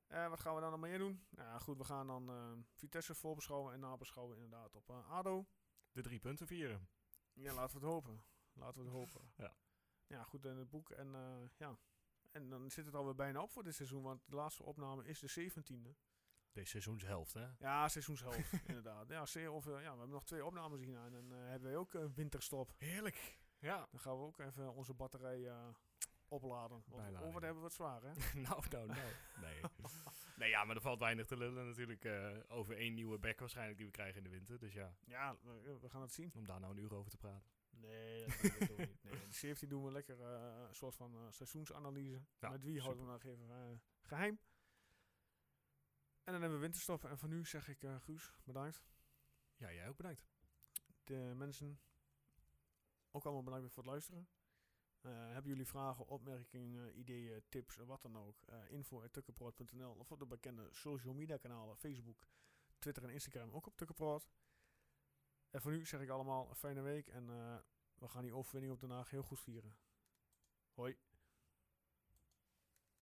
Speaker 2: Eh, wat gaan we dan nog meer doen? Nou ja, goed, we gaan dan eh, Vitesse voorbeschouwen en nabeschouwen inderdaad op eh, ADO.
Speaker 3: De drie punten vieren.
Speaker 2: Ja, laten we het hopen. Laten we het hopen.
Speaker 3: Ja.
Speaker 2: Ja, goed, en het boek. En eh, ja. En dan zit het alweer bijna op voor dit seizoen, want de laatste opname is de 17e.
Speaker 3: Deze seizoenshelft, hè?
Speaker 2: Ja, seizoenshelft, inderdaad. Ja, zeer of, eh, ja, we hebben nog twee opnames hierna en dan eh, hebben we ook een winterstop.
Speaker 3: Heerlijk. Ja.
Speaker 2: Dan gaan we ook even onze batterij eh, opladen. Want
Speaker 3: Bijladen,
Speaker 2: oh, wat
Speaker 3: ja.
Speaker 2: hebben we het zwaar, hè?
Speaker 3: nou, nou, nou. Nee. nee, ja, maar er valt weinig te lullen natuurlijk eh, over één nieuwe back waarschijnlijk die we krijgen in de winter. Dus ja,
Speaker 2: ja, we, we gaan het zien.
Speaker 3: om daar nou een uur over te praten.
Speaker 2: Nee, dat doen we toch niet. Nee, de 17 doen we lekker eh, een soort van eh, seizoensanalyse.
Speaker 3: Ja,
Speaker 2: Met wie houden we nog even eh, geheim. En dan hebben we winterstop. En voor nu zeg ik eh, Guus, bedankt.
Speaker 3: Ja, jij ook bedankt.
Speaker 2: De eh, mensen, ook allemaal bedankt weer voor het luisteren. Eh, hebben jullie vragen, opmerkingen, eh, ideeën, tips, eh, wat dan ook? eh info.tukkenproot.nl of op de bekende social media kanalen Facebook, Twitter en Instagram ook op Tukkenproot. En voor nu zeg ik allemaal een fijne week en eh, we gaan die overwinning op Den Haag heel goed vieren. Hoi.